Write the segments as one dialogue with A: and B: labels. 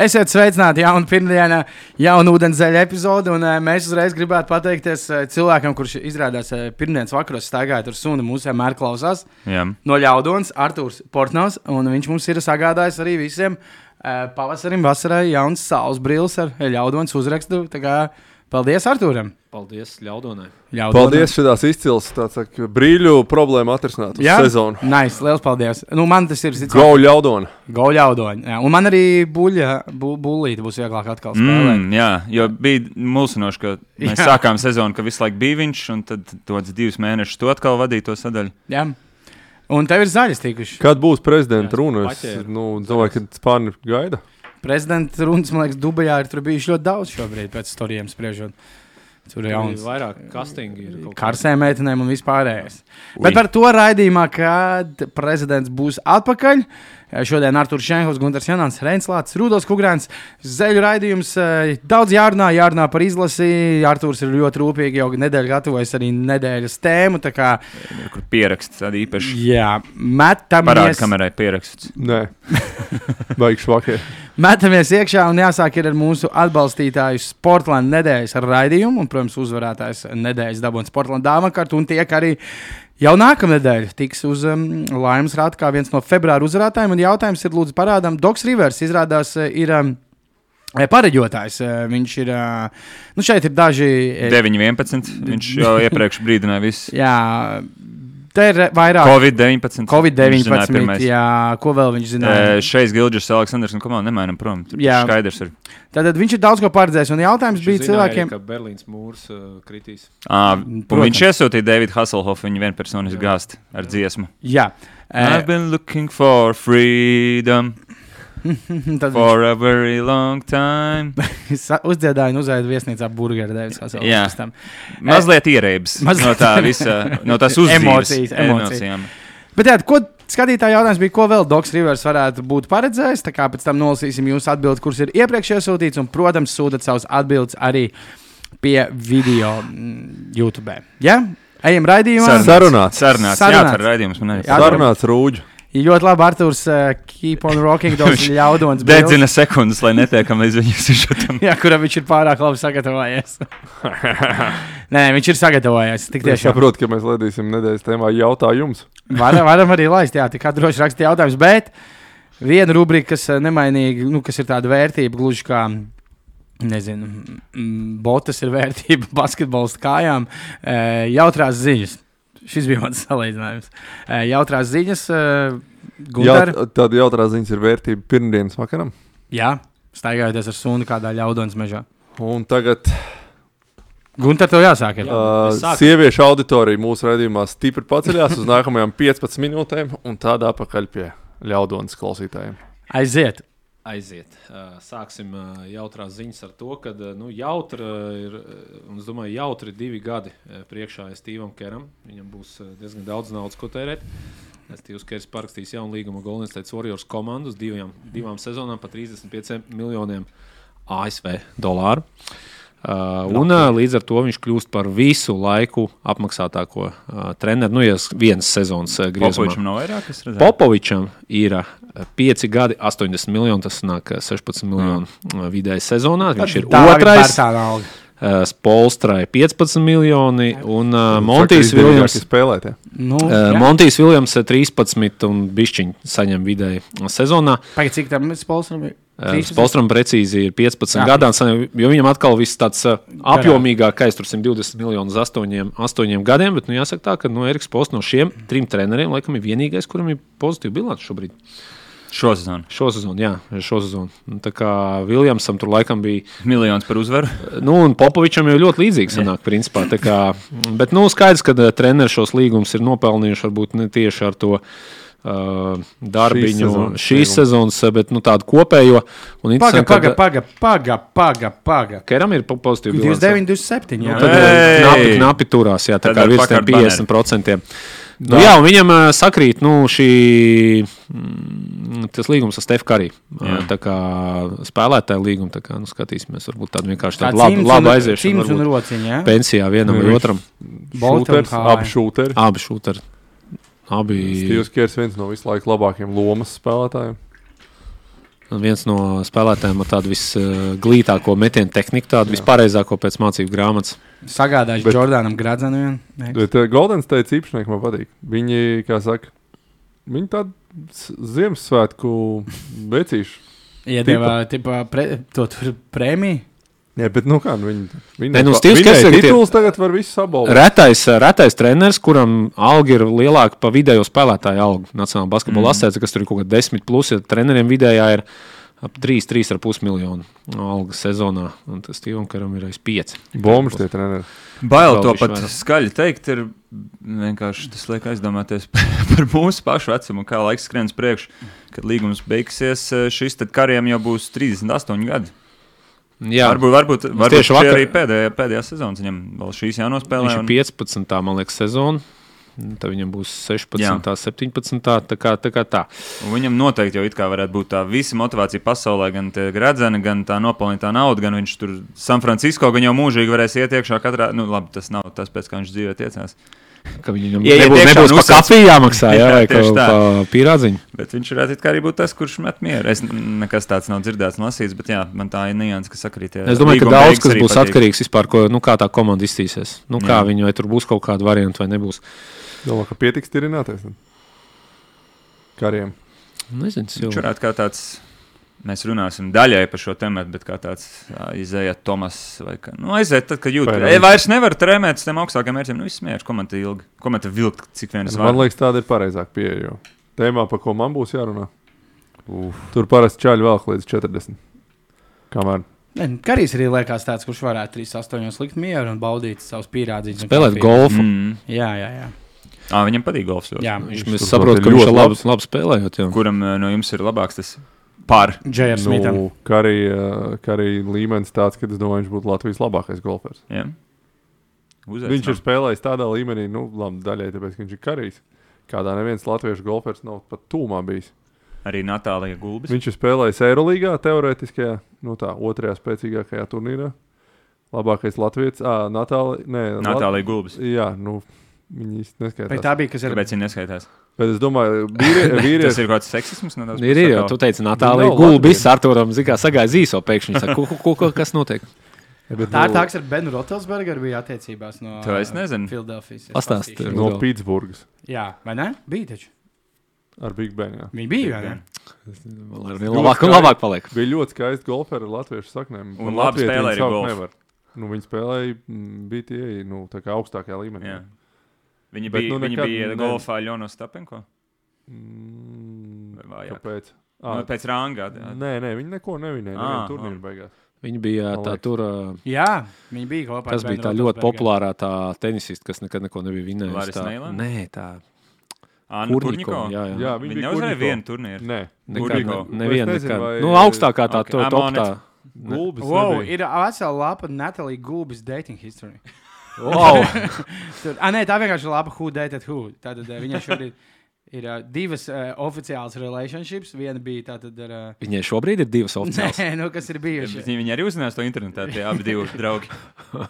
A: Esiet sveicināti jaunu pirmdienu, jaunu ūdenzēļa epizodi. Un, eh, mēs uzreiz gribētu pateikties eh, cilvēkam, kurš izrādās eh, pirmdienas vakaros staigājot ar sunu. Mūsu vienmēr klausās
B: Jā.
A: no ļaudons, Arthurs Portnovs. un Viņš mums ir sagādājis arī visiem eh, pavasarim, vasarai jauns saules brilles ar ļaudons uzrakstu. Tā kā Paldies Arthūram!
C: Paldies, Ļaudonai.
A: Ļaudons.
D: Paldies, šādās izcils tāds, saka, brīļu problēmu atrisināt uz
A: Jā,
D: sezonu.
A: nice, liels paldies. Nu, man tas ir
D: Go ļaudona!
A: gauļaudoņa. Un man arī buļļa, bu, buļlīte būs vieglāk atkal spēlēt.
B: Mm, jā, jo bija mulsinoši, ka mēs jā.
A: Jā.
B: sākām sezonu, ka visu laiku bija viņš, un tad tos divus mēnešus tu atkal vadīji to sadaļu.
A: Jā. Un tev ir zaļas tikuši.
D: Kad būs prezidenta
C: Jā,
D: runa? Es
C: paķēru.
D: nu, domāju, ka spāņi gaida.
A: Prezidenta runas, man liekas, Dubajā ir tur bijuši ļoti daudz šobrīd, pēc storiem spriežot. Tur ir
C: Jauns.
A: jauns.
C: Vairāk castingi ir. kaut kā.
A: Karsēm, meitenēm un vispārējais.
B: Ui.
A: Bet par to raidījumā, kad prezidents būs atpakaļ. eh, Šodien Arthurs Šenhovs, Gunārs Janants, Reinslāts, Rudolf Kungrāns, Zeļu raidījums. eh, Daudz jārunā, jārunā par izlasi. Arthurs ir ļoti rūpīgi jau nedēļu gatavojis arī nedēļas tēmu. Tā kā
B: Ir Kur pieraksts tāda īpaša?
A: jā,
B: Parāda
A: metamies,
B: kamerai pieraksts.
D: Nē, vajag švakē.
A: metamies iekšā un jāsāk ir ar mūsu atbalstītāju Sportlandes nedēļas raidījumu. Un, protams, uzvarētājs nedēļas dabūna Sportlandes dāmas kārtu un tiek arī Jau nākamā nedēļa tiks uz um, laimes rāta kā viens no februāra uzvarētājiem. Un jautājums ir, lūdzu, parādām, Doks Rivers izrādās eh, ir um, eh, pareģotājs. Eh, Viņš ir, eh, nu šeit ir daži. eh,
B: 9.11. Viņš jau iepriekš brīdināja visu.
A: Jā, te ir eh, vairāk
B: Covid-19. Viņš zināja
A: Covid-19.
B: pirmais.
A: Jā, ko vēl viņš zināja?
B: Eh, Šeit Gilģis, Aleksandrs un Komanda nemainām prom. Tur
A: Jā.
B: skaidrs ir.
A: Tātad viņš ir daudz ko paredzējis. Un jautājums
C: Viņš
A: bija
C: zināja arī,
A: cilvēkiem,
C: ka Berlīnas mūrs uh, kritīs.
B: Ah, un
A: Protams.
B: viņš iesūtīja Davidu Hasselhoffu, viņa vienpersonis
C: Jā.
B: gāzt ar dziesmu.
A: Jā,
B: I've
A: e,
B: been looking for freedom
A: Mhm, tad
B: for a very long time.
A: es sa- uzdziedāju un uzēdu viesnīcā burgeru devis Haselovs
B: Jā.
A: pēc tam.
B: Mazliet ierēbis
A: Mazliet.
B: no tā visa, no tās uzzīmes,
A: Emocijas, emocijas.
B: emocijām.
A: Bet, jā, ko skatītāji jautājums bija, ko vēl Doks Rivers varētu būt paredzējis? Tā kā pēc tam nolasīsim jūsu atbildi, kuras ir iepriekš iesūtīts, un, protams, sūtiet savus atbildes arī pie video mm, YouTube. Jā, ejam raidījumā.
B: Sarunāts.
D: Sarunāts.
B: Sarunāts, jā,
A: Sarunāts.
B: tā ir raidījums. Man
A: Jā,
B: arī
D: Sarunāts rūģi.
A: Ļoti labi, Arthurs, uh, keep on rocking, dos
B: Viņš
A: ļaudons.
B: dedzina sekundes, lai netiekam līdz viņas izšutam.
A: Jā, kuram viņš ir pārāk labi sagatavojies. Nē, viņš ir sagatavojies. Tik
D: Es
A: tiešām.
D: saprotu, ka mēs ledīsim nedēļas tēmā jautājumus.
A: Varam, varam arī laist, jā, tā kā droši rakstīt jautājumus. Bet viena rubrika, kas eh, nemainīgi, nu, kas ir tāda vērtība, gluži kā. Nezinu, mm, botas ir vērtība basketbols kājām. Eh, Jautrās ziņas. Šis bija mans salīdzinājums. Eh, Jautrās ziņas, eh, Gunār.
D: Jaut- Tāda jautrā ziņas ir vērtība pirmdienas vakaram.
A: Jā, staigājoties ar sunu kādā ļaudonas mežā.
D: Un tagad
A: Gunār, tev jāsāk. Ir.
C: Jā.
D: Uh,
C: mēs sākam.
D: sieviešu auditorija mūsu redzējumā stipri paceļās uz nākamajām 15 minūtēm, un tādā pakaļ pie ļaudonas klausītājiem.
A: Aiziet.
C: Aiziet. Uh, Sāksim uh, jautrās ziņas ar to, ka uh, nu, jautra ir, uh, un es domāju, jautri divi gadi uh, priekšā Stevam Keram. Viņam būs uh, diezgan daudz naudas, ko tērēt. Steve's Kers parakstīs jaunu līgumu Golden State Warriors komandu uz divām, divām sezonām par 35 miljoniem ASV dolāru. Uh, un uh, līdz ar to viņš kļūst par visu laiku apmaksātāko uh, treneru. Nu, ja s- vienas sezonas uh, griezumā.
B: Popovičam nav vairāk, es redzēju.
C: Popovičam ir 5 gadi, 80 miljoni. Tas nāk eh, 16 miljoni mm. vidēji sezonā. Viņš ir
A: Tā
C: otrais.
A: Tā nav.
C: eh, Spolstrai 15 miljoni un eh,
D: Saka,
C: Montijs
D: izdevīgākie
C: Viljams.
D: spēlētie.
A: Nu,
C: eh,
A: jā.
C: Montijs Viljams eh, 13 un bišķiņu saņem vidēji eh, sezonā.
A: Pagaid, cik tam sponsor bija?
C: Eh, Spolstram precīzi ir 15
A: Jā.
C: gadā, saņem- jo viņam atkal viss tāds eh,
A: Garā.
C: apjomīgākais, tur 120 miljonus astoņiem, astoņiem gadiem, bet nu, jāsaka tā, ka nu, Eriks Pols no šiem trim treneriem laikam ir vienīgais, kuram ir pozitīva bilants šobrīd.
B: Šo sezonu.
C: Šo sezonu, jā, šo sezonu. Nu, Tā kā Viljamsam tur laikam bija,
B: Miljons par uzvaru.
C: nu, un Popovičam jau ļoti līdzīgs sanāk, principā. tā Kā, bet, nu, skaidrs, ka eh, treneris šos līgumus ir nopelnījuši varbūt ne tieši ar to. Uh, darbiņu
D: sezonas
C: šīs
D: līgumu.
C: sezonas, eh, bet nu, tādu kopējo. un
A: Paga,
C: interesanti,
A: paga,
C: ka-
A: paga, paga, paga, paga.
C: Keram ir po- pozitīva bilance.
A: 29, 27.
C: Nu,
A: Jā,
C: tad
A: tad,
B: Ei!
C: eh, knapi, knapi turās, jā, tā
B: Tad
C: kā
B: ar
C: virs
B: pakaļ
C: tiem 50%. Nu,
D: Jā.
C: jā, un viņam eh, sakrīt nu, šī, mm, tas līgums ar Stefu Karī.
B: Jā.
C: Tā kā spēlētāja līguma, tā kā nu, skatīsimies, varbūt tādu vienkārši
A: tā
C: tādu labu, labu aiziešanu.
A: Cimds un
C: varbūt
A: rociņa. Ja?
C: Pensijā vienam vai
D: Viņš-
C: otram.
A: Bolton
D: Šūters,
A: High.
D: Abi šūteri.
C: Abi šūteri. Abi.
D: Stīvs Kers viens no visu laiku labākajiem lomas spēlētājiem.
C: Viens no spēlētājiem ar tādu visglītāko metienu tehniku, tādu vispārējāko pēc mācību grāmatas.
A: Sagādājuši Bet...
D: Bet-
A: Jordānam Gradzenu eh, vienu. Nē.
D: Bet eh, Goldens teica, īpašnieki man patīk. Viņi, kā saka, viņi tādu s- Ziemassvētku vecīšu.
A: Iedeva tipā pre, to tur prēmiju.
D: Jā, bet nu kā, nu viņi. viņi
C: Nē, nu, Stīvs,
D: viņai
C: kas tagad ir-
D: tituls tagad var visu sabalvot.
C: Retais, eh, retais treneris, kuram alga ir lielāka par vidējo spēlētāju algu Nacionālajā basketbola mm. asociācijā, kas tur ir kaut kāda 10 plus, ja treneriem vidējā ir ap 3, 3,5 miljonu alga sezonā. Un tas Stīvam Karam ir aiz 5.
D: Bombas tie treneri.
B: Bail to
C: Vēl bišķi
B: pat
C: vairāk.
B: skaļi teikt, ir vienkārši tas liek aizdomāties par mūsu pašu vecumu, kā laiks skrienas priekš. Kad līgums beigsies, eh, šis tad kariem jau būs 38 gadi. Jā,
C: Jā,
B: varbūt varbūt, varbūt
C: tieši
B: šī
C: vakar-
B: arī pēdējā, pēdējā sezona viņam vēl šīs jānospēlē.
C: viņš ir
B: un-
C: 15. man liekas, sezona. Nu, Tad viņam būs 16,
B: Jā.
C: 17. Tā kā tā. Kā tā.
B: Un Viņam noteikti jau it kā varētu būt tā visa motivācija pasaulē, gan tā gradzena, gan tā nopelnītā nauda, gan viņš tur San Francisco, gan jau mūžīgi varēs iet iekšā katrā. Nu, labi, tas nav tas, pēc kā viņš dzīvē tiecās.
C: Ka viņam
B: Ieiet
C: nebūs,
B: iekšā
C: nebūs
B: un
C: pa
B: uzsāc.
C: kafiju jāmaksā, jā,
B: Jā,
C: vai kaut
B: tieši tā.
C: kā pīrādziņa.
B: Bet viņš varētu it kā arī būt tas, kurš met mieru. Es n- nekas tāds nav dzirdēts, lasīts, bet jā, man tā ir nianses, kas sakrīt.
C: Es domāju, ka daudz kas būs atkarīgs vispār, ko, nu, kā tā komanda izstīsies. Nu,
B: Jā.
C: kā viņi, vai tur būs kaut kāda varianta vai nebūs.
D: Domā, ka pietiks tirināties. tad? Kariem.
C: Nu, Nezinu, tas
B: Viņš
C: jau
B: varētu kā tāds. Mēs runāsim daļai par šo tēmu, bet kā tāds izējāt, Tomas, vai kā. Nu, aiziet, tad, kad jūtas.
D: Vai-
B: Ei, vairs nevar trēmēt uz tiem augstākiem mērķiem. Nu, viss mērķis, komanda ilgi. Komanda vilkt, cik vien es
D: Man
B: varu.
D: liekas, tāda ir pareizāka pieeja. jo Tēmā, par ko man būs jārunā. Uf. Tur parasti čaļi velk līdz 40. Kamēr
A: Nē, nu, Karijs arī liekas tāds, kurš varētu 3,8 likt mieru un baudīt savus pierādījumus.
C: spēlēt golfu. Mm.
B: Mm.
A: Jā, jā, jā.
B: À, Ah, viņam patīk golfs. ļoti.
A: jā.
C: Viņš
D: tur
C: mēs saprotam, ka
D: ļoti
C: viņš ir labs,
D: labs.
C: labs spēlējot. Jā.
B: kuram eh, no jums ir labāks tas par.
A: Džērs Smits.
D: nu, Karija Karija līmenis tāds, ka es domāju, viņš būtu Latvijas labākais golfers.
B: Ja?
D: Viņš ir spēlējis tādā līmenī, nu, labi, daļai tāpēc, ka viņš ir Karijs. Kādā neviens latviešu golfers nav pat tūmā bijis.
B: arī Natālija Gulbis.
D: Viņš ir spēlējis Eirolandā, teorētiskajā, nu tā, otrajā spēcīgākajā turnīrā. Labākais Latvijas, ah, Natālija. Nē, Lat...
B: Natālija Gulbis.
D: Jā, nu, viņi īsti
A: Vai
D: neskaidro.
A: tā bija, kas ir?
B: Kāpēc viņa neskaitās?
D: Bet es domāju, vīrie-
B: Tas
D: vīrieši
B: ir kaut kāds seksisms. nedaudz
C: Nu, Ir, ir jau tā,
B: pasakā.
C: tu teici, Natālija
D: nav
C: Gulbis, Arturam Zigā sagāja zīso pēkšņi. Saka, ko, ko, ko, ko, kas notiek?
D: bet
A: Tā ir
D: no-
A: tā, kas ar Benu Rotelsbergeru bija attiecībās no
B: To es nezinu.
A: Filadelfijas. Es
C: Pastāsti.
A: pastīšu.
D: no Pitsburgas
A: Jā, vai ne? Bija taču.
D: ar Big Bang. Jā.
A: Viņi bija, vai ne?
C: Vēl labāk un labāk paliek.
D: Bija ļoti skaisti golferi ar latviešu saknēm.
B: Un labi
D: latvieši
B: spēlē
D: viņu
B: arī
D: saukt
B: golfu.
D: nevar. Nu, viņi spēlēja mm, BTA nu, tā kā augstākajā līmenī.
B: Jā. Viņa
D: Bet,
B: bija,
D: nu,
B: nu, viņa
D: nekad
B: bija
D: ne-
B: golfā Jono Stapenko.
D: Mm,
B: Vai vājāk?
D: kāpēc?
B: Nu, Ah,
D: Ah,
B: pēc rangā. jā.
D: Nē, nē, viņi neko nevinēja.
B: Ā,
D: Viņa turnīra
B: ā.
D: beigās.
C: Viņa bija tā
D: Paliek.
C: tur. ā,
A: Jā, viņi bija kopā.
C: Tas bija tā ļoti populārā tā tenisiste, kas nekad neko nebija
B: Laris
C: vinnējusi. Tā-
B: Neilanda?
C: Nē, tā
B: Anna
C: Kurnikova,
B: Kurnikova.
C: jā, jā.
D: Jā,
B: Viņa
D: bija
B: neuzvarēja
D: Kurnikova.
B: vienu turnīru.
D: Nē,
C: nekad
B: Kurnikova.
C: ne- neviena.
D: Es nezinu, vai-
C: nekad. Nu, augstākā tā
B: Ok,
C: to- top
B: Amonets.
C: tā.
D: Gulbis.
A: Wow,
D: nebija.
A: ir vesela lapa Natālija Gulbis dating history.
C: Wow!
A: Tur, ah, nē, tā vienkārši ir laba who dated who. Tātad eh, viņai šobrīd ir uh, divas uh, oficiālas relationships. Viena bija tātad ar... Uh,
C: Viņai šobrīd ir divas opcijas.
A: nē, nu kas ir bijuši.
B: Viņa, viņa arī uzzināja to internetā, tie abi divi draugi.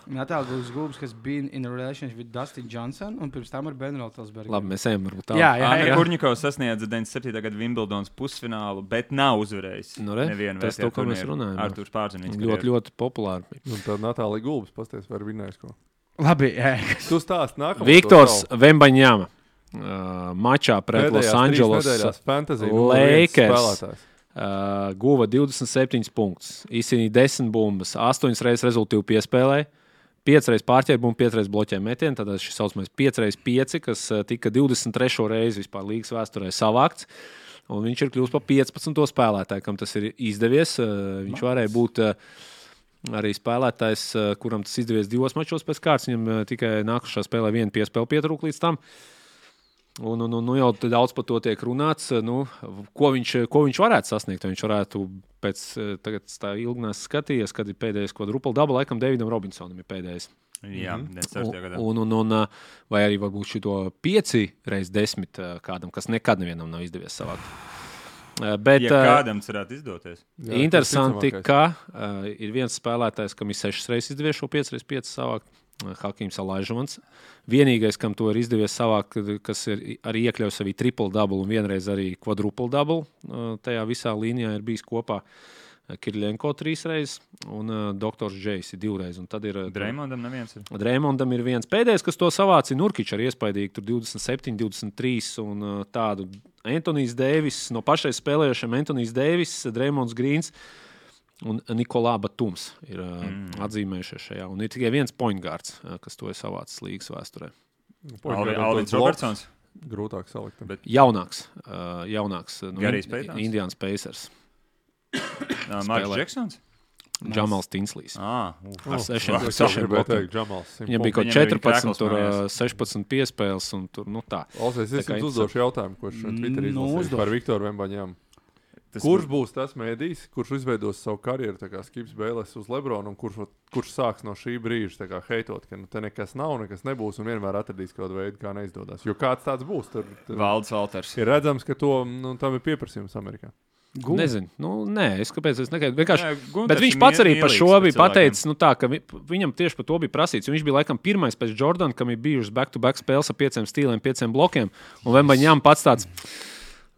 A: Natālija Gulbis Gulbis, kas bija in a relationship with Dustin Johnson un pirms tam ar Benu Rotelsbergeru.
C: Labi, mēs ejam varbūt tā.
A: Jā, jā,
B: Anna
A: jā.
B: Kurnikova sasniedza 97. gada Wimbledonas pusfinālu, bet nav uzvarējusi.
C: Nu, re,
B: nevienu
C: tas
B: vērtību
C: to, ko mēs
B: turnīru.
C: runājam, jā.
B: Arturs Pārzinis.
C: Ļoti, ļoti populāri.
D: Un Nu, tad Natālija Gulbis pasties, vai ir vinnējis ko.
A: Labi, eh,
D: Tu stāst nākamā.
C: Viktors Vembaņāma uh, mačā pret Los Angeles uh,
D: Fantasy nu,
C: Lakers.
D: spēlētājs.
C: uh, guva 27 punktus, izcīnīja 10 bumbas, 8 reizes rezultātu piespēlē. 5 reizes pārķēra un 5 reizes bloķēja metienu. Tad šis saucamais 5 reizes 5, kas uh, tika 23. reizi vispār līgas vēsturē savākts. Un viņš ir kļuvis par 15. spēlētāju, kam tas ir izdevies. Uh, Viņš varēja būt uh, arī spēlētājs, uh, kuram tas izdevies divos mačos pēc kārtas. Viņam uh, tikai nākamajā spēlē viena piespēle pietrūka līdz tam. Un, un, un nu jau te daudz par to tiek runāts, uh, nu, v- ko, viņš, uh, ko viņš varētu sasniegt. Vai Viņš varētu pēc uh, tagad es tā ilgnās skatījies, kad ir pēdējais kvadrupla daba, laikam Davidam Robinsonam ir pēdējais.
B: Jā,
C: Mhm.
B: 96. gadā.
C: Un, un, un, uh, vai arī varbūt šito pieci reizes desmit uh, kādam, kas nekad nevienam nav izdevies savākt. Uh, Bet,
B: Ja
C: uh,
B: kādam cerētu izdoties.
D: Jā,
C: Jā,
D: tas
C: Interesanti, eh,
D: ticamākais.
C: ka uh, ir viens spēlētājs, kam ir sešas reizes izdevies šo 5x5 savākt. Hakims Alaižons. Vienīgais, kam to ir izdevies savākt, eh, kas ir arī iekļauts savā triple dubultā un vienreiz arī quadruple dubultā, tajā visā līnijā ir bijis kopā. Kirillenko trīs reizes un uh, doktors Džeis divreiz. Un tad ir uh,
B: Dreimondam, neviens. Ir.
C: Dreimondam ir viens pēdējais, kas to savāca. Nurkičs ir iespaidīgi, tur 27, 23 un uh, tādu. Antonijs Deivis, no pašais spēlējušiem Antonijs Deivis, Dreimonds Grīns. Un Nikolā Batums ir uh, mm. atzīmējušies šajā. Un ir tikai viens poingārds, uh, kas to ir savācis līgas vēsturē.
D: Nu,
B: Alvins Robertsons.
D: Grūtāk salikt. Bet...
C: Jaunāks. Uh, jaunāks nu,
B: Garijs Pēters.
C: Indians Pacers.
B: Mārcis Džeksons.
C: Džamals Tinslīs.
B: Ah,
D: Nu,
C: ar sešiem blokiem. Viņam bija kaut 14, tur, 16 piespēles un tur nu tā.
D: Olsies, es jums uzdošu jautājumu, ko šeit Twitterī
A: Nu,
D: izlasīju
A: uzdod.
D: par Viktoru Vembaņām.
B: Tas
D: Kurš būs tas mēdījis, kurš izveidos savu karjeru, tā kā skips Bēlēs uz Lebronu, un kurš, kurš sāks no šī brīža tā kā, heitot, ka nu, te nekas nav, nekas nebūs, un vienmēr atradīs kaut veidu, kā neizdodas. Jo kāds tāds būs, tur, tur
B: Valds Alters.
D: ir redzams, ka to, nu, tam ir pieprasījums Amerikā.
A: Gu-
C: Nezinu, nu, nē, es kāpēc es nekad vienkārši.
B: Nē, Gunters
C: Bet viņš
B: ir
C: pats arī
B: mie-
C: par
B: mīlīgs
C: šo
B: pret
C: bija
B: cilvēkiem.
C: pateicis, nu, tā, ka vi- viņam tieši par to bija prasīts. un Viņš bija laikam pirmais pēc Jordana, kam ir bijušas back-to-back spēles ar pieciem stīliem, pieciem blokiem. Un Vembaņām pats tāds.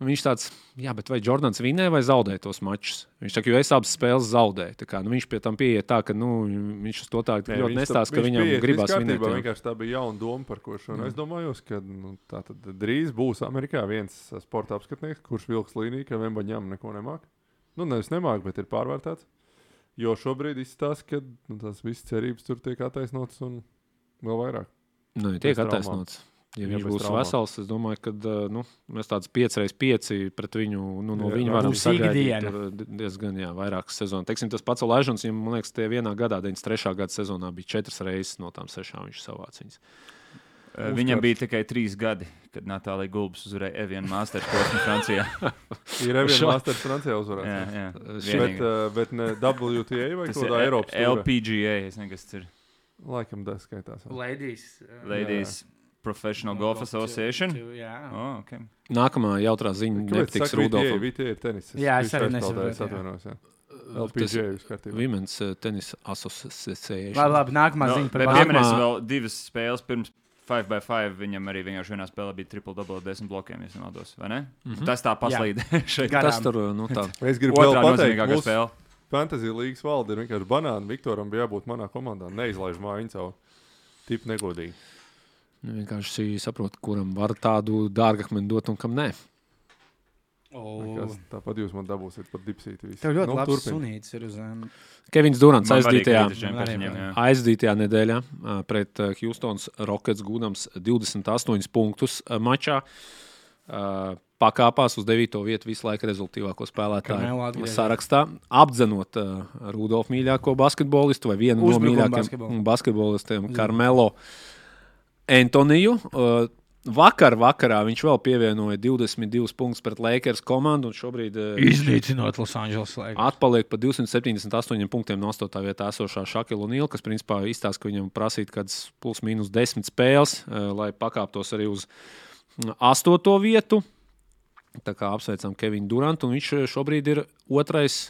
C: Viņš tāds, jā, bet vai Jordans vinēja vai zaudēja tos mačus? Viņš saka, jo es abas spēles zaudēju. Tā Kā, nu, viņš pie tam pieiet tā, ka nu, viņš uz to tā
D: Nē,
C: ļoti
D: viņš
C: nestāsta,
D: tā-
C: ka
D: viņš
C: viņam
D: bija-
C: gribās
D: viss kārtībā,
C: vinēt. jā.
D: Vienkārši tā bija jauna doma par ko šo. Es domāju, ka nu, tā tad drīz būs Amerikā viens eh, sporta apskatnieks, kurš vilks līniju, ka Vembaņam neko nemāk. Nu, nevis nemāk, bet ir pārvērtēts. Jo šobrīd izstāsta, ka nu, tās visas cerības tur tiek attaisnotas un vēl vairāk.
C: Nē, Nu, tiek
D: traumām.
C: attaisnots. Ja
D: Jā,
C: viņš
D: bez
C: būs
D: traumām.
C: vesels, es domāju, ka nu, mēs tādus 5x5 pret viņu, nu, no
D: Jā,
C: viņa
D: jā.
C: varam
A: Būs
C: sagaidīt
A: ikdiena.
C: tur, eh, diezgan jā, vairākas sezonas. Teiksim, tas pats Laižons, viņam, man liekas, tie vienā gadā, 93. gada sezonā, bija četras reizes no tām sešām viņš savāca viņas.
B: Eh, Viņam bija tikai trīs gadi, kad Natālija Gulbs uzvarēja Evienu Masters posmu Francijā.
D: Ir arī
C: Šo-
D: viena Masters Francijā uzvarēta.
B: jā, jā.
D: Bet,
B: Vienīgā.
D: eh, bet ne WTA vai
B: Tas
D: kādā
B: ir
D: Eiropas līnijā?
B: LPGA, es nezinu, kas tas ir.
D: Laikam tas skaitās.
A: Ladies. uh,
B: Ladies Professional Golf Association.
A: Two, Jā.
B: Oh, okay.
C: Nākamā jautrā ziņa netiks
D: Rudolfam.
C: Rudolfam.
D: Viņa ir tenisis.
A: Jā, es arī
D: Es
A: nesaprotu, jā.
D: atvainojos. jā.
C: Tas
D: LPGA viss kārtībā.
C: Women's eh, Tennis Association.
A: Labi, labi, nākamā
B: No,
A: ziņa par
B: bet
C: Nākamā-
B: pieminēsim vēl divas spēles pirms 5x5. Viņam arī vienkārši vienā spēlē bija triple double ar desmit blokiem, ja nemaldos. vai Ne? Mm
C: Mhm.
B: -hmm. Tas tā paslīd šeit.
A: Garām.
C: Tas tur, eh, nu tā.
D: Es gribu vēl
B: Otrā
D: pateikt,
B: nozīmīgākā
D: mūsu
B: spēle.
D: Fantasy līnijas valde ir vienkārši banāna. Viktoram bija jābūt manā komandā. Neizlaiž mājiņu savu. Tip negodīgi.
C: Nu, Vienkārši saprot, kuram var tādu dārgakmeni dot un kam nē.
D: Nekas, Tāpat jūs man dabūsiet pat dipsīti. visu.
A: Oh. Tev ļoti
D: Nu,
A: labi
D: turpini.
A: sunīts ir uz um,
C: Kevins Durants
B: Man arī
C: aizdītajā.
B: krīt uz čempions
A: Man arī
B: viņiem, jā.
C: aizdītajā nedēļā ā, pret ā, Houstonas Rockets gūdams 28 punktus ā, mačā. ā, Pakāpās uz 9. vietu visu laiku
A: Carmelo
C: rezultātīvāko spēlētāju
A: atgriezies.
C: sarakstā, apdzenot uh, Rudolf mīļāko basketbolistu vai vienu no
A: Uzbrukuma
C: mīļākajiem
A: basketbolu.
C: basketbolistiem, Karmelo Antoniju. Uh, vakar, vakarā viņš vēl pievienoja 22 punktus pret Lakers komandu, un šobrīd uh,
A: iznīcinot Losandželos laiku.
C: Atpaliek par 278 punktiem no 8. vietā esošā Šakila Nīla, kas principā izstāsta, ka viņam prasītu kaut kādas plus mīnus 10 spēles, eh, lai pakāptos arī uz mm, 8. vietu. Tā kā apsveicam Kevinu Durantu, un viņš eh, šobrīd ir otrais.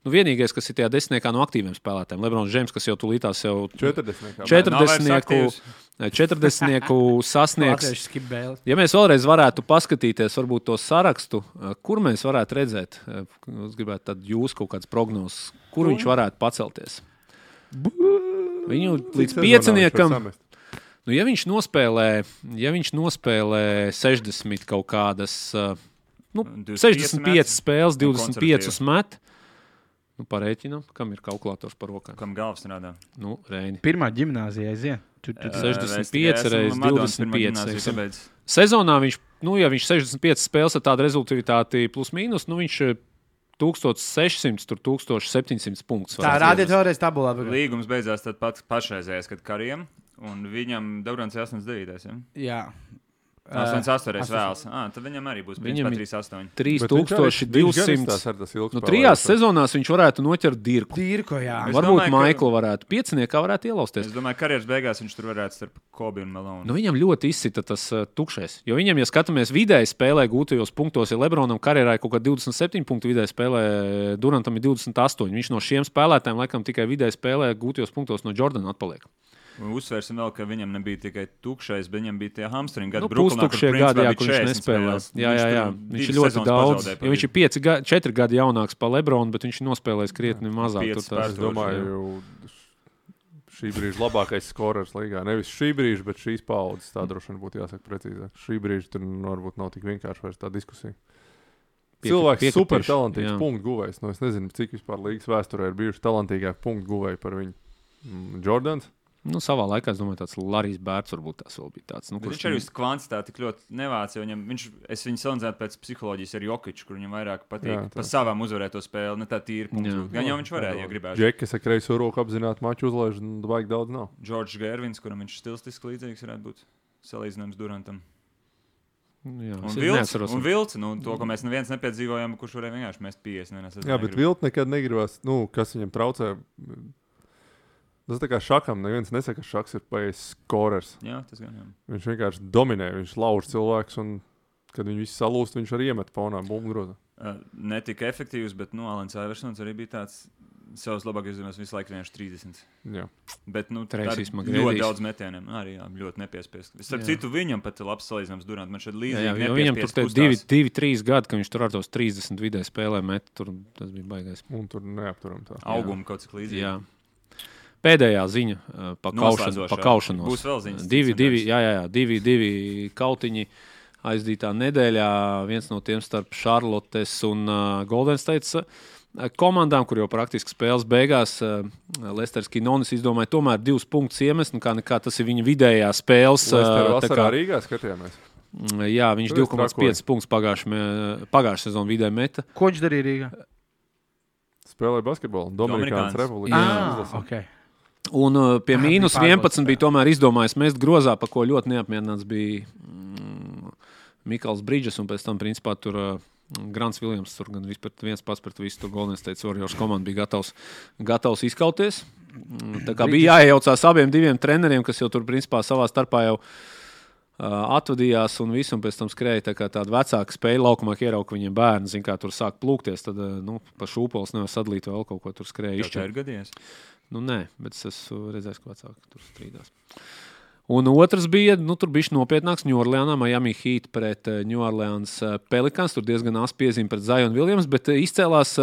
C: Nu, vienīgais, kas ir tajā desmitniekā no aktīviem spēlētājiem, Lebrons Džeims, kas jau tulītās jau
D: 40. kā
B: Nav vairs
C: 40.
B: aktīvs.
C: 40 sasniegs.
A: Latviešu skibēli.
C: Ja mēs vēlreiz varētu paskatīties, varbūt to sarakstu, eh, kur mēs varētu redzēt, eh, es gribētu tad jūs kaut kādas prognozes, kur viņš varētu pacelties. Viņu līdz
D: Cik sezonā viņš var
C: pieciniekam,
D: samest?
C: nu, ja viņš nospēlē, ja viņš nospēlē 60 kaut kādas, eh, nu,
B: 25
C: 65 spēles,
B: nu,
C: 25 met, nu, parēķinam, kam ir kalkulators par rokām.
B: Kam galvas strādā?
C: Nu, Reini.
A: Pirmā gimnāzija aiziet. Tu, tu,
C: Uh,
A: tu.
C: 65 reiz 25.
B: Tāpēc
C: Sezonā viņš, nu, ja viņš 65 spēles ar tādu rezultātu, plus mīnus, nu, viņš eh, 1600, tur 1700 punktus.
A: Tā
C: varētu
A: rādiet vēlreiz tabulā. pagaid.
B: līgums beidzās tad pats pašreizējais, kad kariem. Un viņam Dabrons ir 89. Ja?
A: Jā.
B: Uh, 88.
A: astoņdesmit-
B: vēlas. Ah, tad viņam arī būs
C: Viņam
B: principā
C: ir-
B: 38.
D: Bet viņš arī- viņš gan izstāsta
C: 3200.
D: ar tas ilgs
C: Nu,
D: spēlētājs.
C: trijās sezonās viņš varētu noķert dirku.
A: Tīrko, jā.
B: Es
C: Varbūt
B: domāju, ka-
C: Maikls varētu pieciniekā varētu ielausties.
B: Es domāju, ka karjeras beigās viņš tur varētu starp Kobi un Melonu.
C: Nu, viņam ļoti izsita tas uh, tukšais. Jo viņam, ja skatāmies vidēji spēlē, gūtajos punktos, ja Lebronam karjerā ir kaut kāda 27 punktu vidēji spēlē, eh, Durantam ir 28. Viņš no šiem spēlētājiem laikam tikai vidēji spēlē, gūtajos punktos no Jordana atpaliek.
B: Uzsvērsim vēl, ka viņam nebija tikai tukšais, bet viņam bija tie hamstringi. Gadu
C: Nu, Pustošie gadi, jā, kurš nespēlēja. Jā, jā, jā. Viņš ir ļoti daudz. Ja viņš ir 5, 4 gadi jaunāks par Lebronu, bet viņš nospēlēs krietni mazāk.
B: pieci
C: tur tās-
D: Es domāju, šī brīža labākais skorers līgā. Nevis šī brīža, bet šīs paudzes. Tā droši vien būtu jāsaka precīzāk. Šī brīža tur nu, varbūt nav tik vienkārši vairs tā diskusija.
C: Piekri-
D: Cilvēks ir
C: piekritīšu,
D: super talantīgs
C: jā.
D: punktu guvējs. Nu, es nezinu, cik vispār līgas vēsturē ir bijuši talantīgāki punktu guvēji par viņu. Mm, Jordans.
C: Nu, savā laikā, es domāju, tāds Larijs Bērts varbūt tās vēl bija tāds. Nu,
B: Bet Viņš arī uz kvantitāti tik ļoti nevācis. Viņam, viņš, es viņu salīdzināju pēc psiholoģijas ar Jokuču, kur viņam vairāk patīk
D: Jā,
B: jā,
D: tā.
B: par savām uzvarēto spēli. Ne tā tīra punktu.
C: Jā.
B: gūt. Gan jau viņš varēja, ja gribētu.
D: Džekas ar kreiso roku apzināti maču uzlaiž, un vajag daudz nav.
B: Džordžs Gērvins, kuram viņš stilistiski līdzīgs varētu būt. Salīdzinājums Durantam.
C: Jā,
B: Un
C: es
B: vilcis,
C: neatceros.
B: un vilcis, nu, to, ko mēs neviens nepiedzīvojām, kurš varēja vienkārši mest 50.
D: Jā, bet vilkt nekad negribas, nu, kas viņam traucē. Tas tā kā šakam, neviens nesaka, ka šaks ir paies skorers.
B: Jā, tas gan jā.
D: Viņš vienkārši dominē, viņš lauž cilvēkus, un kad viņi visi salūst, viņš arī iemet fonā bumbuļgrozu.
B: Uh, ne tik efektīvs, bet nu, Alans Iversons arī bija tāds savs labākais zīmējums visu laiku, vienkārši 30.
D: Jā,
B: Bet, nu, tā
C: Treisijs
B: ir
C: Magredijs.
B: ļoti daudz metieniem. Arī jā, ļoti nepiespiest. Es
C: Jā.
B: starp citu, viņam pat ir labs salīdzinājums Durantam. Man šeit līdzīgi
C: Jā, jā, jo viņam tur
B: nepiespiezt
C: bija
B: kustās.
C: divi, divi, trīs gadi, kad viņš tur ar tos 30 vidē spēlē. Met, tur, tas bija baigais.
D: un tur neapturam tā.
B: auguma kaut cik Nu, līdzīga.
C: Jā. Pēdējā ziņa uh, pa kaušanu-
B: Noslēdzošā.
C: pa kaušanos.
B: Būs vēl ziņas,
C: Divi,
B: cits
C: divi,
B: nedēļas.
C: jā, jā, jā, divi, divi kautiņi aizdītā nedēļā. Viens no tiem starp Charlottes un uh, Golden States. uh, Komandām, kur jau praktiski spēles beigās, uh, Lesters Kinonis izdomāja, tomēr divus punktus iemest. Nu, kā nekā tas ir viņa vidējā spēles.
D: Mēs tur
C: uh, tā
D: vasarā Rīgā skatījāmies.
C: Mm, Jā, viņš
D: Tur es
C: 2,5 punktus pagājušajā mē- pagājušā sezonā vidē meta.
A: Ko viņš darīja Rīgā?
D: Spēlēja basketbolu Dominikānas
B: Dominikāns.
D: Republikā.
A: Jā,
D: izlasē.
A: Ah, ok.
C: Un uh, pie
A: bija
C: mīnus
A: pārbaudas
C: 11 bija tomēr izdomājis mest grozā, par ko ļoti neapmierināts bija mm, Mikls Brīdžers. Un pēc tam, principā, tur uh, Grants Viljams tur gan vispār viens pats pret visu tur Golden State Warriors komandu bija gatavs, gatavs izkauties. Mm, Tā kā bija jāiejaucās abiem diviem treneriem, kas jau tur principā savā starpā jau uh, atvadījās un viss, un pēc tam skrēja tā kā tāda vecāka spēja laukumā, kā ierauga viņiem bērni, zin, kā tur sāk plūkties. Tad, uh, nu, pa šūpoles nevar sadalīt vēl kaut ko, tur skrēja
B: Viņš
C: izšķirt.
B: jau ir gadījies.
C: Nu, nē, bet es esmu redzējis, ka vecāki tur strīdās. Un otrs bija, nu, tur bija nopietnāks Ņūorleānā, Miami Heat pret eh, Ņūorleānas Pelikāns. Tur diezgan asi piezīme pret Zajonu Viljams, bet eh, izcēlās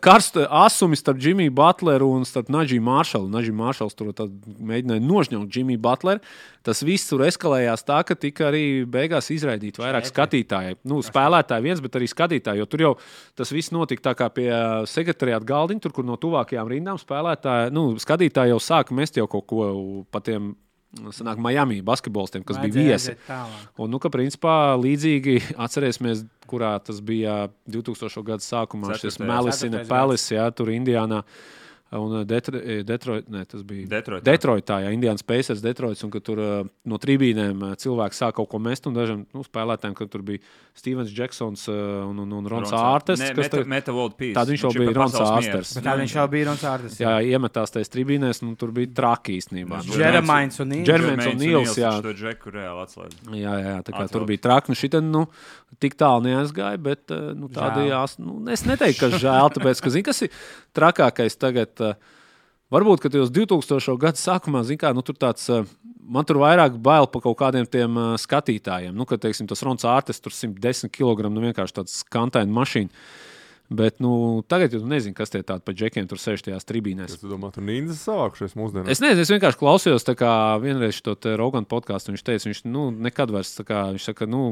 C: karsta asumi starp Džimiju Butleru un starp Nadžiju Māršalu. Nadžiju Māršals tur tad mēģināja nožņaukt Džimiju Butleru. Tas viss tur eskalējās tā, ka tika arī beigās izraidīti vairāk skatītāji. Nu, spēlētāji viens, bet arī skatītāji, jo tur jau tas viss notika tā kā pie eh, sekretariāta galdiņa, tur, kur no tuvākajām rindām spēlētāji, nu, skatītāji jau sāka mest jau kaut ko pa tiem Sanāk, Miami basketbolistiem, kas bija viesi. Un, nu, ka, principā, līdzīgi atcerēsimies, kurā tas bija 2000. gada sākumā. Šis
B: Ceturtais.
A: Ceturtais
C: Melisina Palace, jā, tur Indijānā. Un eh, Detroitā, nē, tas bija
B: Detroitā.
C: Detroitā, jā, Indijas Pacers, Detroits, un ka tur eh, no trījiem cilvēki sāk kaut ko mest, un dažiem nu, spēlētājiem, kad tur bija Stevens Džeksons eh, un, un, un Rons Ārtes. kas
B: Meta,
C: tagad-
B: meta World Peace.
C: Tad viņš jau bija Rons Ārters.
A: Bet tā viņš jau bija Ronas Ārdas.
C: Jā, iemetās tajās trījās, un tur bija traki īstenībā. Nu,
A: Džeremains un Nīls.
C: Džerem- Jermains un Nils, jā.
B: To džeku reāli atslēdz.
C: Jā, jā, jā tā kā
B: Atvelk.
C: tur bija traki. Nu, šitien, nu, tik tālu neaizgāja, bet eh, nu, tāda
A: Žēl.
C: jās. Nu, es neteiktu, ka žēl, tāpēc, ka, zini, kas ir trakākais tagad. eh, Varbūt, ka tajos 2000. gada sākumā, zin kā, nu, tur tāds, eh, man tur vairāk bail par kaut kādiem tiem eh, skatītājiem. Nu, kad, teiksim, tas Rons Ārtes tur 110 kg, nu, vienkārši tāds kantaina mašīna. Bet, nu, tagad jau nezinu, kas tie tādi pa džekiem tur sēž tajās tribīnēs.
D: Es domāju, tur nīdzes savākušies mūsdienās.
C: Nu. Es nezinu, es vienkārši klausījos, tā kā vienreiz to Roganu podkāstu. Viņš teica, viņš nu, nekad vairs, tā kā, viņš saka, nu,